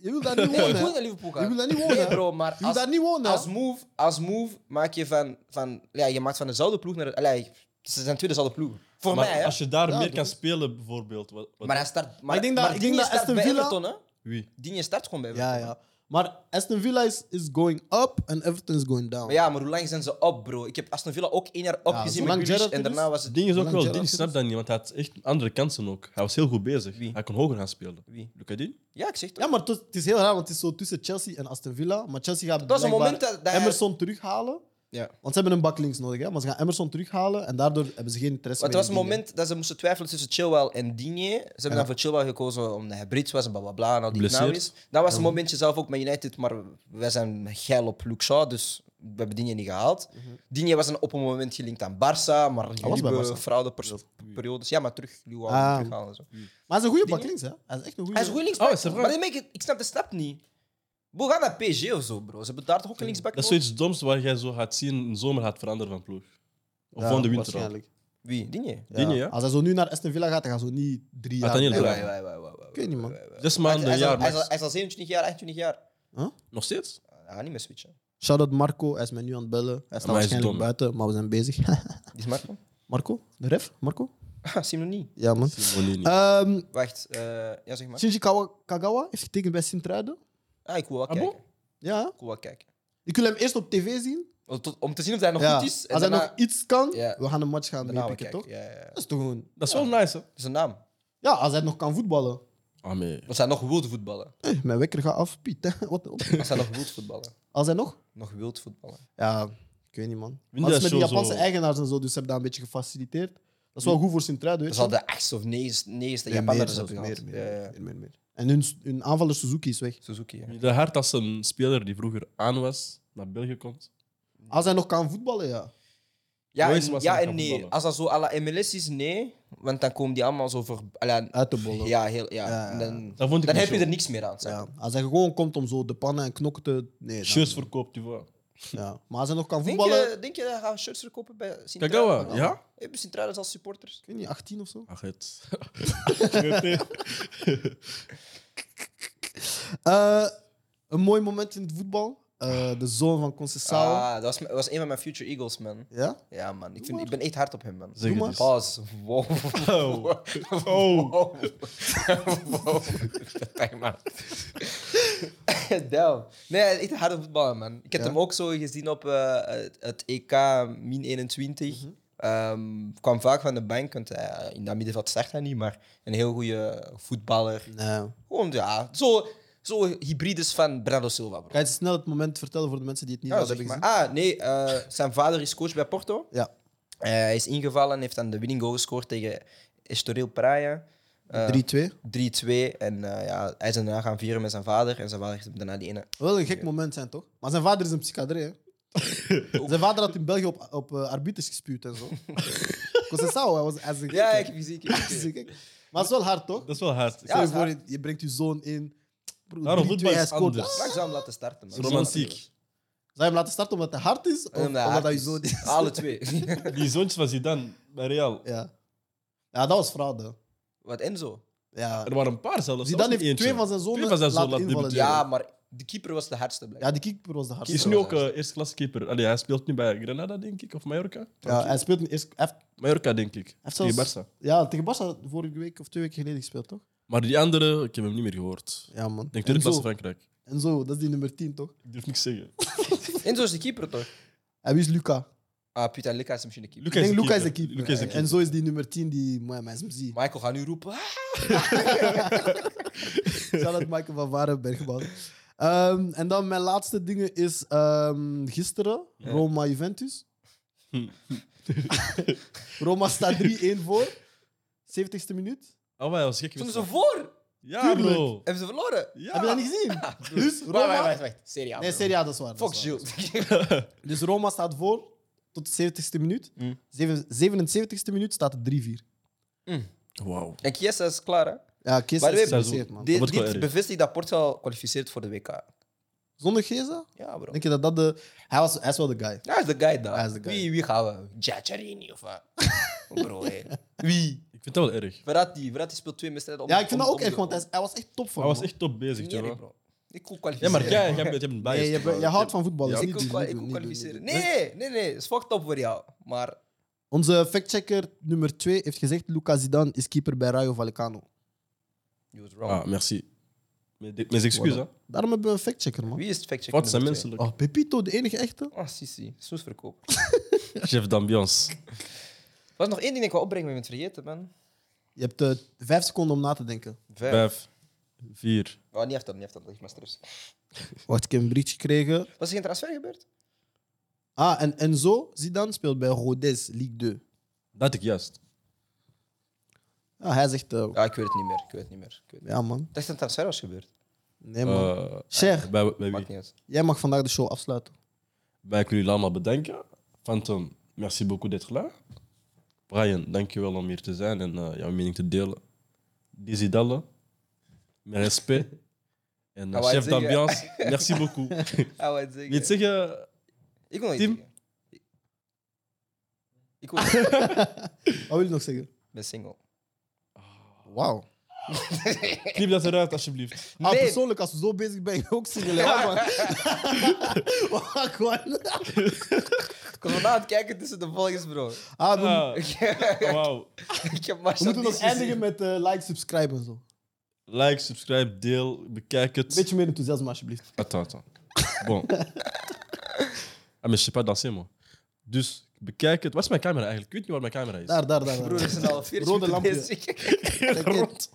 Speaker 1: Je wil daar niet
Speaker 2: Nee, ik
Speaker 1: wonen. hè?
Speaker 2: wil naar Liverpool gaan.
Speaker 1: Je wil daar niet wonen,
Speaker 2: Nee,
Speaker 1: hè?
Speaker 2: bro, maar
Speaker 1: Je wil
Speaker 2: als,
Speaker 1: daar niet wonen. hè?
Speaker 2: als, move, als move maak je van... van ja, je maakt van dezelfde ploeg naar... De, allee, ze zijn tweede zal de ploegen. Voor
Speaker 3: maar
Speaker 2: mij, hè.
Speaker 3: als je daar
Speaker 1: Ja,
Speaker 3: meer
Speaker 1: dat
Speaker 3: kan
Speaker 1: is-
Speaker 3: spelen, bijvoorbeeld. Wat, wat-
Speaker 2: Maar hij start... Maar,
Speaker 1: ik denk dat-
Speaker 2: maar
Speaker 1: ik denk dat
Speaker 2: Digne start
Speaker 1: Aston
Speaker 2: bij
Speaker 1: Villa-
Speaker 2: Everton, hè.
Speaker 3: Wie?
Speaker 2: Digne start gewoon bij Everton.
Speaker 1: Ja, ja. Maar Aston Villa is, is going up en Everton is going down.
Speaker 2: Maar ja, maar hoe lang zijn ze op, bro? Ik heb Aston Villa ook één jaar opgezien
Speaker 1: zolang
Speaker 2: met Grealish
Speaker 1: Gerrard
Speaker 2: en
Speaker 1: er is-
Speaker 2: daarna was
Speaker 3: Het
Speaker 2: het...
Speaker 3: ding is ook
Speaker 1: Lang
Speaker 3: wel,
Speaker 1: Gerrard
Speaker 3: Dini snapt dat niet, want hij had echt andere kansen ook. Hij was heel goed bezig.
Speaker 2: Wie?
Speaker 3: Hij kon hoger gaan spelen.
Speaker 2: Wie?
Speaker 3: Luca Dini?
Speaker 2: Ja, ik zeg toch.
Speaker 1: Ja, maar het is- het is heel raar, want het is zo tussen Chelsea en Aston Villa. Maar Chelsea gaat
Speaker 2: Dat was een
Speaker 1: blijkbaar
Speaker 2: moment dat- dat hij-
Speaker 1: Emerson terughalen.
Speaker 2: Ja.
Speaker 1: Want ze hebben een backlinks nodig, hè? maar ze gaan Emerson terughalen en daardoor hebben ze geen interesse
Speaker 2: Maar het
Speaker 1: meer
Speaker 2: was een
Speaker 1: in Digne.
Speaker 2: moment dat ze moesten twijfelen tussen Chilwell en Digne. Ze hebben
Speaker 1: Ja.
Speaker 2: dan voor Chilwell gekozen omdat hij Brits was en blablabla en al die
Speaker 3: Geblesseerd.
Speaker 2: knauwis. Dat was een momentje zelf ook met United, maar wij zijn geil op Luke Shaw, dus we hebben Digne niet gehaald. Digne was een, op een moment gelinkt aan Barça, maar jullie
Speaker 1: Mhm. bij
Speaker 2: hebben
Speaker 1: Barça.
Speaker 2: fraudeperiodes. Ja, maar terug, jullie wouden
Speaker 1: Ah.
Speaker 2: hem terughalen en zo.
Speaker 1: Maar hij is een goede
Speaker 2: Digne-
Speaker 1: backlinks, hè? Hij is echt een goede.
Speaker 2: Hij is een goede
Speaker 3: Oh, is
Speaker 2: linksback,
Speaker 3: dat waar?
Speaker 2: maar die make- ik snap de stap niet. We gaan naar PSG of zo, bro. Ze hebben daar toch ook een linksback
Speaker 3: Dat is
Speaker 2: nodig?
Speaker 3: zoiets doms waar jij zo gaat zien in de zomer gaat veranderen van ploeg. Of
Speaker 1: Ja,
Speaker 3: van de winter al.
Speaker 1: waarschijnlijk.
Speaker 2: Wie? Digne?
Speaker 1: Ja.
Speaker 3: Digne, ja?
Speaker 1: Als hij zo nu naar Aston Villa gaat, dan gaan ze niet drie jaar...
Speaker 3: Nathaniel
Speaker 2: Ja,
Speaker 3: Bravo.
Speaker 2: ja, ja, ja, ja, ja, ja.
Speaker 1: Ik weet niet, man.
Speaker 3: Zes maanden,
Speaker 2: Hij
Speaker 3: een
Speaker 2: is al-
Speaker 3: jaar
Speaker 2: hij is al-
Speaker 3: max.
Speaker 2: hij is al 27 jaar, 28 jaar. Ah,
Speaker 3: Nog steeds?
Speaker 2: Hij gaat niet meer switchen.
Speaker 1: Shout-out Marco, hij is mij nu aan het bellen. Hij staat
Speaker 3: Maar hij is
Speaker 1: waarschijnlijk
Speaker 3: dom, hè?
Speaker 1: buiten, maar we zijn bezig.
Speaker 2: Die is Marco?
Speaker 1: Marco? De ref? Marco?
Speaker 2: Ah, zie hem nog niet.
Speaker 1: Ja, man.
Speaker 3: Simoni niet.
Speaker 1: Ehm
Speaker 2: Wacht, eh, ja zeg maar.
Speaker 1: Shinji Kawa- Kagawa heeft getekend bij Sint-Truiden.
Speaker 2: Ah, ik wil wel
Speaker 3: Ah, bon?
Speaker 2: kijken.
Speaker 1: Ja, hè?
Speaker 2: Ik wil wel kijken.
Speaker 1: ik wil hem eerst op tv zien.
Speaker 2: Om te- Om te zien of hij nog
Speaker 1: Ja.
Speaker 2: goed is. En
Speaker 1: Als hij
Speaker 2: daarna,
Speaker 1: nog iets kan,
Speaker 2: Ja.
Speaker 1: we gaan een match gaan
Speaker 2: daarna wel
Speaker 1: meepikken,
Speaker 2: kijken.
Speaker 1: toch?
Speaker 2: Ja, ja, ja.
Speaker 1: Dat is toch gewoon...
Speaker 3: Dat is wel nice, hè?
Speaker 2: Dat is een naam.
Speaker 1: Ja, als hij nog kan voetballen.
Speaker 3: Ah, nee.
Speaker 2: Als hij nog wilt voetballen.
Speaker 1: Eh, mijn wekker gaat af, Piet. hè. Wat de op-
Speaker 2: Als hij nog wilt voetballen.
Speaker 1: Als hij nog...
Speaker 2: Nog wilt voetballen.
Speaker 1: Ja, ik weet niet, man.
Speaker 3: Vind
Speaker 1: Als
Speaker 3: dat
Speaker 1: met die
Speaker 3: zo-
Speaker 1: Japanse
Speaker 3: zo-
Speaker 1: eigenaars en zo, dus ze hebben dat een beetje gefaciliteerd. Dat is wel goed voor Sint-Truiden,
Speaker 2: Dat
Speaker 1: weet
Speaker 2: is al
Speaker 1: je.
Speaker 2: de achtste of negende negende
Speaker 1: Nee,
Speaker 2: Japaner
Speaker 1: Hm. meer
Speaker 2: dat
Speaker 1: zelfs,
Speaker 2: ze
Speaker 1: meer,
Speaker 2: gehad.
Speaker 1: meer,
Speaker 2: Ja, ja.
Speaker 1: meer, meer, meer. En hun, hun aanvaller Suzuki is weg.
Speaker 2: Suzuki, ja.
Speaker 3: De hart als een speler die vroeger aan was, naar België komt.
Speaker 1: Als hij nog kan voetballen, ja.
Speaker 2: Ja,
Speaker 3: Royce
Speaker 2: en,
Speaker 3: was
Speaker 2: ja
Speaker 3: aan het
Speaker 2: en
Speaker 3: gaan
Speaker 2: nee.
Speaker 3: voetballen.
Speaker 2: Als dat zo à la MLS is, nee. Want dan komen die allemaal zo voor... à la-
Speaker 1: Uit de bollen.
Speaker 2: Ja, heel... Ja.
Speaker 1: Ja, ja.
Speaker 2: En Dan,
Speaker 3: Dat vond ik
Speaker 2: dan
Speaker 3: niet
Speaker 2: heb je
Speaker 3: zo.
Speaker 2: er niks meer aan. snap je?
Speaker 1: Ja, als hij gewoon komt om zo de pannen en knokken te... Nee, dan-
Speaker 3: Shirts verkoopt, tu vois.
Speaker 1: Ja. Maar als hij nog kan
Speaker 2: Denk
Speaker 1: voetballen...
Speaker 2: je, denk je dat hij gaat shirts verkopen bij Sint-Truiden?
Speaker 3: Kagawa, ja?
Speaker 2: Hebben Sint-Truiden als supporters?
Speaker 1: Ik weet niet, 18 of zo?
Speaker 3: Ach, het.
Speaker 1: Eh, een mooi moment in het voetbal. Eh, de zoon van Concessao.
Speaker 2: Ah, dat was, m- was een van mijn future Eagles, man.
Speaker 1: Ja?
Speaker 2: Ja, man. Ik, vind, ik ben echt hard op hem, man.
Speaker 1: Doe
Speaker 3: Zeg het
Speaker 1: maar.
Speaker 3: eens.
Speaker 2: Pause. Wow.
Speaker 3: Dus- Oh.
Speaker 2: Wow. Wow. Kijk maar. Damn. Nee, hij is echt hard op voetbal, man. Ik heb
Speaker 1: Ja?
Speaker 2: hem ook zo gezien op eh, het, het EK min 21.
Speaker 1: Mhm.
Speaker 2: Ehm, kwam vaak van de bank, want hij- in dat middenveld start hij niet, maar een heel goede voetballer.
Speaker 1: Nee.
Speaker 2: Gewoon, ja, zo, zo hybrides van Bernardo Silva, bro.
Speaker 1: Kan je snel het moment vertellen voor de mensen die het niet
Speaker 2: Ja,
Speaker 1: hadden
Speaker 2: zeg maar.
Speaker 1: gezien?
Speaker 2: Ah, nee, eh, zijn vader is coach bij Porto.
Speaker 1: Ja,
Speaker 2: Eh, hij is ingevallen en heeft dan de winning goal gescoord tegen Estoril Praia. Eh,
Speaker 1: 3-2.
Speaker 2: 3-2. En eh, ja, hij is hem daarna gaan vieren met zijn vader. En zijn vader heeft hem daarna die ene...
Speaker 1: Wel een gek moment zijn, toch? Maar zijn vader is een psychiater, hè? zijn vader had in België op, op eh, arbiters gespuwd en zo. Concessao, hij was hij is een gek.
Speaker 2: Ja,
Speaker 1: hè.
Speaker 2: ik fysiek.
Speaker 1: Hij is een gek. Maar het is wel hard, toch?
Speaker 3: Dat is wel hard.
Speaker 1: Stel je
Speaker 2: is
Speaker 1: voor,
Speaker 2: hard.
Speaker 1: je- je brengt je zoon in. Broer,
Speaker 3: Daarom,
Speaker 1: 3-2,
Speaker 3: voetbal
Speaker 1: hij
Speaker 3: is
Speaker 1: scoort.
Speaker 3: anders.
Speaker 1: Ah,
Speaker 2: Mag ze hem laten starten, man.
Speaker 3: Romantiek.
Speaker 1: Zou je hem laten starten omdat hij hard is? Of
Speaker 2: Omdat hij
Speaker 1: omdat
Speaker 2: hard
Speaker 1: hij je
Speaker 2: is.
Speaker 1: zoon is?
Speaker 2: Alle twee.
Speaker 3: Die zoontjes van Zidane bij Real.
Speaker 1: Ja. ja, dat was fraude.
Speaker 2: Wat Enzo?
Speaker 1: Ja.
Speaker 3: Er waren een paar zelfs.
Speaker 1: Zidane
Speaker 3: zelfs
Speaker 1: heeft
Speaker 3: niet
Speaker 1: twee
Speaker 3: eentje.
Speaker 1: van zijn zonen
Speaker 3: Twee van zijn
Speaker 1: laten
Speaker 3: zonen
Speaker 1: invallen.
Speaker 3: debuteren.
Speaker 2: Ja, maar de keeper was de hardste, blijkbaar.
Speaker 1: Ja, die keeper was de
Speaker 3: Die is
Speaker 1: hardste.
Speaker 3: nu ook eh eerste klasse keeper. Allee, hij speelt nu bij Granada, denk ik, of Mallorca.
Speaker 1: Ja, hij speelt een eerste... hij heeft-
Speaker 3: Mallorca, denk ik.
Speaker 1: heeft
Speaker 3: Tegen
Speaker 1: zelfs-
Speaker 3: Barca.
Speaker 1: Ja, tegen Barca vorige week of twee weken geleden gespeeld, toch?
Speaker 3: Maar die andere, ik heb hem niet meer gehoord. Ik
Speaker 1: Ja, man.
Speaker 3: denk
Speaker 1: En
Speaker 3: tweede klasse
Speaker 1: zo-
Speaker 3: Frankrijk.
Speaker 1: En zo, dat is die nummer 10, toch?
Speaker 3: Ik durf niks zeggen.
Speaker 2: Enzo is de keeper, toch?
Speaker 1: En wie is Luca?
Speaker 2: Ah, Pieter Luca is misschien de keeper.
Speaker 1: Ik denk Luca is de keeper.
Speaker 3: Luca is de keeper.
Speaker 1: En zo is die nummer 10 die mooi mij zie.
Speaker 2: Michael gaat nu roepen. "Ah,
Speaker 1: Shout out Michael van Warenberg, man. Ehm, en dan mijn laatste dingen is ehm, gisteren Roma Juventus. Roma staat 3-1 voor. 70ste minuut.
Speaker 3: Oh, maar hij was gek.
Speaker 2: Stonden ze voor?
Speaker 3: Ja, bro.
Speaker 2: Hebben ze verloren?
Speaker 3: Ja.
Speaker 1: Heb je dat niet gezien? Dus
Speaker 2: Wacht, wacht,
Speaker 1: Roma.
Speaker 2: wacht. wacht. Serie A.
Speaker 1: Nee,
Speaker 2: bro.
Speaker 1: Serie A, dat is waar. dat
Speaker 2: Fuck
Speaker 1: is waar.
Speaker 2: Gilles.
Speaker 1: Dus Roma staat voor tot de 70ste minuut.
Speaker 2: Mm.
Speaker 1: Zeven- 77ste minuut staat het 3-4.
Speaker 3: Wauw.
Speaker 2: En Chiesa is klaar, hè?
Speaker 1: Ja, Kees
Speaker 2: By the
Speaker 1: is
Speaker 2: way,
Speaker 1: geblesseerd, man.
Speaker 3: die-
Speaker 2: Dit,
Speaker 3: wordt wel
Speaker 2: dit
Speaker 3: erg.
Speaker 2: bevestigt dat Portugal kwalificeert voor de WK.
Speaker 1: Zonder Geza?
Speaker 2: Ja, bro.
Speaker 1: Denk je dat dat de... Hij, was, hij is wel de guy.
Speaker 2: Hij is de guy daar.
Speaker 1: Hij is de guy.
Speaker 2: Wie, wie gaan we? Giaccherini of wat? bro, hé. Wie?
Speaker 3: Ik vind dat wel erg.
Speaker 2: Verratti. Verratti speelt twee wedstrijden om
Speaker 1: Ja, ik vind
Speaker 2: om-
Speaker 1: dat ook
Speaker 2: om-
Speaker 1: erg, want
Speaker 2: om-
Speaker 1: hij, is- hij was echt top voor
Speaker 3: Hij was echt top bezig,
Speaker 2: Nee,
Speaker 3: joh.
Speaker 2: bro. Ik kon
Speaker 3: Ja,
Speaker 2: kwalificeren.
Speaker 3: maar jij, jij bent, jij bent biased.
Speaker 1: Nee, je,
Speaker 3: bro.
Speaker 1: je houdt van voetbal.
Speaker 3: Ja.
Speaker 1: dus
Speaker 2: Ik
Speaker 1: niet
Speaker 2: kon
Speaker 1: doen,
Speaker 2: kwa-
Speaker 1: niet
Speaker 2: ik
Speaker 1: doen,
Speaker 2: kon
Speaker 1: niet doen, niet
Speaker 2: kwalificeren.
Speaker 1: doen.
Speaker 2: Nee, nee, nee. Het is fucked up voor jou. Maar
Speaker 1: Onze factchecker nummer 2 heeft gezegd: Luca Zidane is keeper bij Rayo Vallecano.
Speaker 2: You was wrong.
Speaker 3: Ah, merci. Mijn mijn excuus, hè.
Speaker 1: Daarom hebben we een factchecker, man.
Speaker 2: Wie is het factcheck?
Speaker 3: Wat zijn
Speaker 2: nummer twee?
Speaker 3: menselijk.
Speaker 1: Oh, Pepito, de enige echte.
Speaker 2: Ah, Sissi. Snoesverkoper.
Speaker 3: Chef d'ambiance.
Speaker 2: Er was nog één ding dat ik wil opbrengen, maar ik ben het vergeten, man.
Speaker 1: Je hebt eh, vijf seconden om na te denken.
Speaker 2: Vijf.
Speaker 3: Vijf, vier.
Speaker 2: Oh, niet heeft dat, niet heeft dat. Dat is maar stress.
Speaker 1: Wacht, ik heb een berichtje gekregen.
Speaker 2: Was er geen transfer gebeurd?
Speaker 1: Ah, en Enzo Zidane speelt bij Rodez, Ligue 2.
Speaker 3: Dat ik juist.
Speaker 1: Ja, hij zegt: eh,
Speaker 2: Ja, ik weet het niet meer. Ik weet het niet meer. Ik weet het niet.
Speaker 1: Ja, man.
Speaker 2: Ik dacht dat een transfer was gebeurd.
Speaker 1: Nee, man.
Speaker 3: Eh,
Speaker 1: Cher,
Speaker 3: bij, bij wie?
Speaker 2: Maakt niet uit.
Speaker 1: jij mag vandaag de show afsluiten.
Speaker 3: Wij kunnen jullie allemaal bedanken. Phantom, merci beaucoup d'être là. Brian, dankjewel om hier te zijn en eh, jouw mening te delen. Dizzy Dalle, mijn respect. En eh,
Speaker 2: Ah, wat zeg
Speaker 3: chef
Speaker 2: je?
Speaker 3: d'ambiance, merci beaucoup.
Speaker 2: Ah, wat
Speaker 3: Wil je
Speaker 2: zeggen?
Speaker 3: het zeggen?
Speaker 2: Ik wil nog iets
Speaker 3: Tim?
Speaker 2: zeggen. Ik wil ik
Speaker 1: Wat wil je nog zeggen?
Speaker 2: ben single.
Speaker 1: Wauw.
Speaker 3: Knip dat eruit, alsjeblieft.
Speaker 1: Ah,
Speaker 2: Nee.
Speaker 1: persoonlijk, als we zo bezig ben, je ook single. Ja, man. Wacht, gewoon.
Speaker 2: Ik kon vanavond kijken tussen de volgers, bro.
Speaker 1: Ah, we,
Speaker 3: Ah, Wauw.
Speaker 2: Ik heb
Speaker 1: we
Speaker 2: Marcel
Speaker 1: moeten nog
Speaker 2: niet
Speaker 1: eindigen
Speaker 2: gezien.
Speaker 1: met eh, like, subscribe en zo. Een
Speaker 3: Like, subscribe, deel, bekijk het.
Speaker 1: beetje meer enthousiasme, alsjeblieft.
Speaker 3: Attends, attends. Bon. ah, maar je sais pas danser, moi. Dus bekijk het. Waar is mijn camera eigenlijk? Ik weet niet waar mijn camera is.
Speaker 1: Daar, daar, daar.
Speaker 2: Broer,
Speaker 1: daar.
Speaker 2: we zijn al 40
Speaker 1: Rode
Speaker 2: minuten
Speaker 1: lampje.
Speaker 2: bezig.
Speaker 3: rond.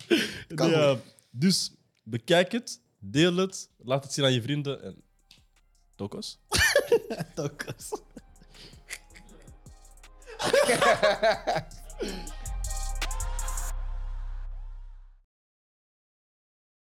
Speaker 1: Kan
Speaker 3: Ja, dus bekijk het, deel het, laat het zien aan je vrienden en. Tokos?
Speaker 1: Tokkes.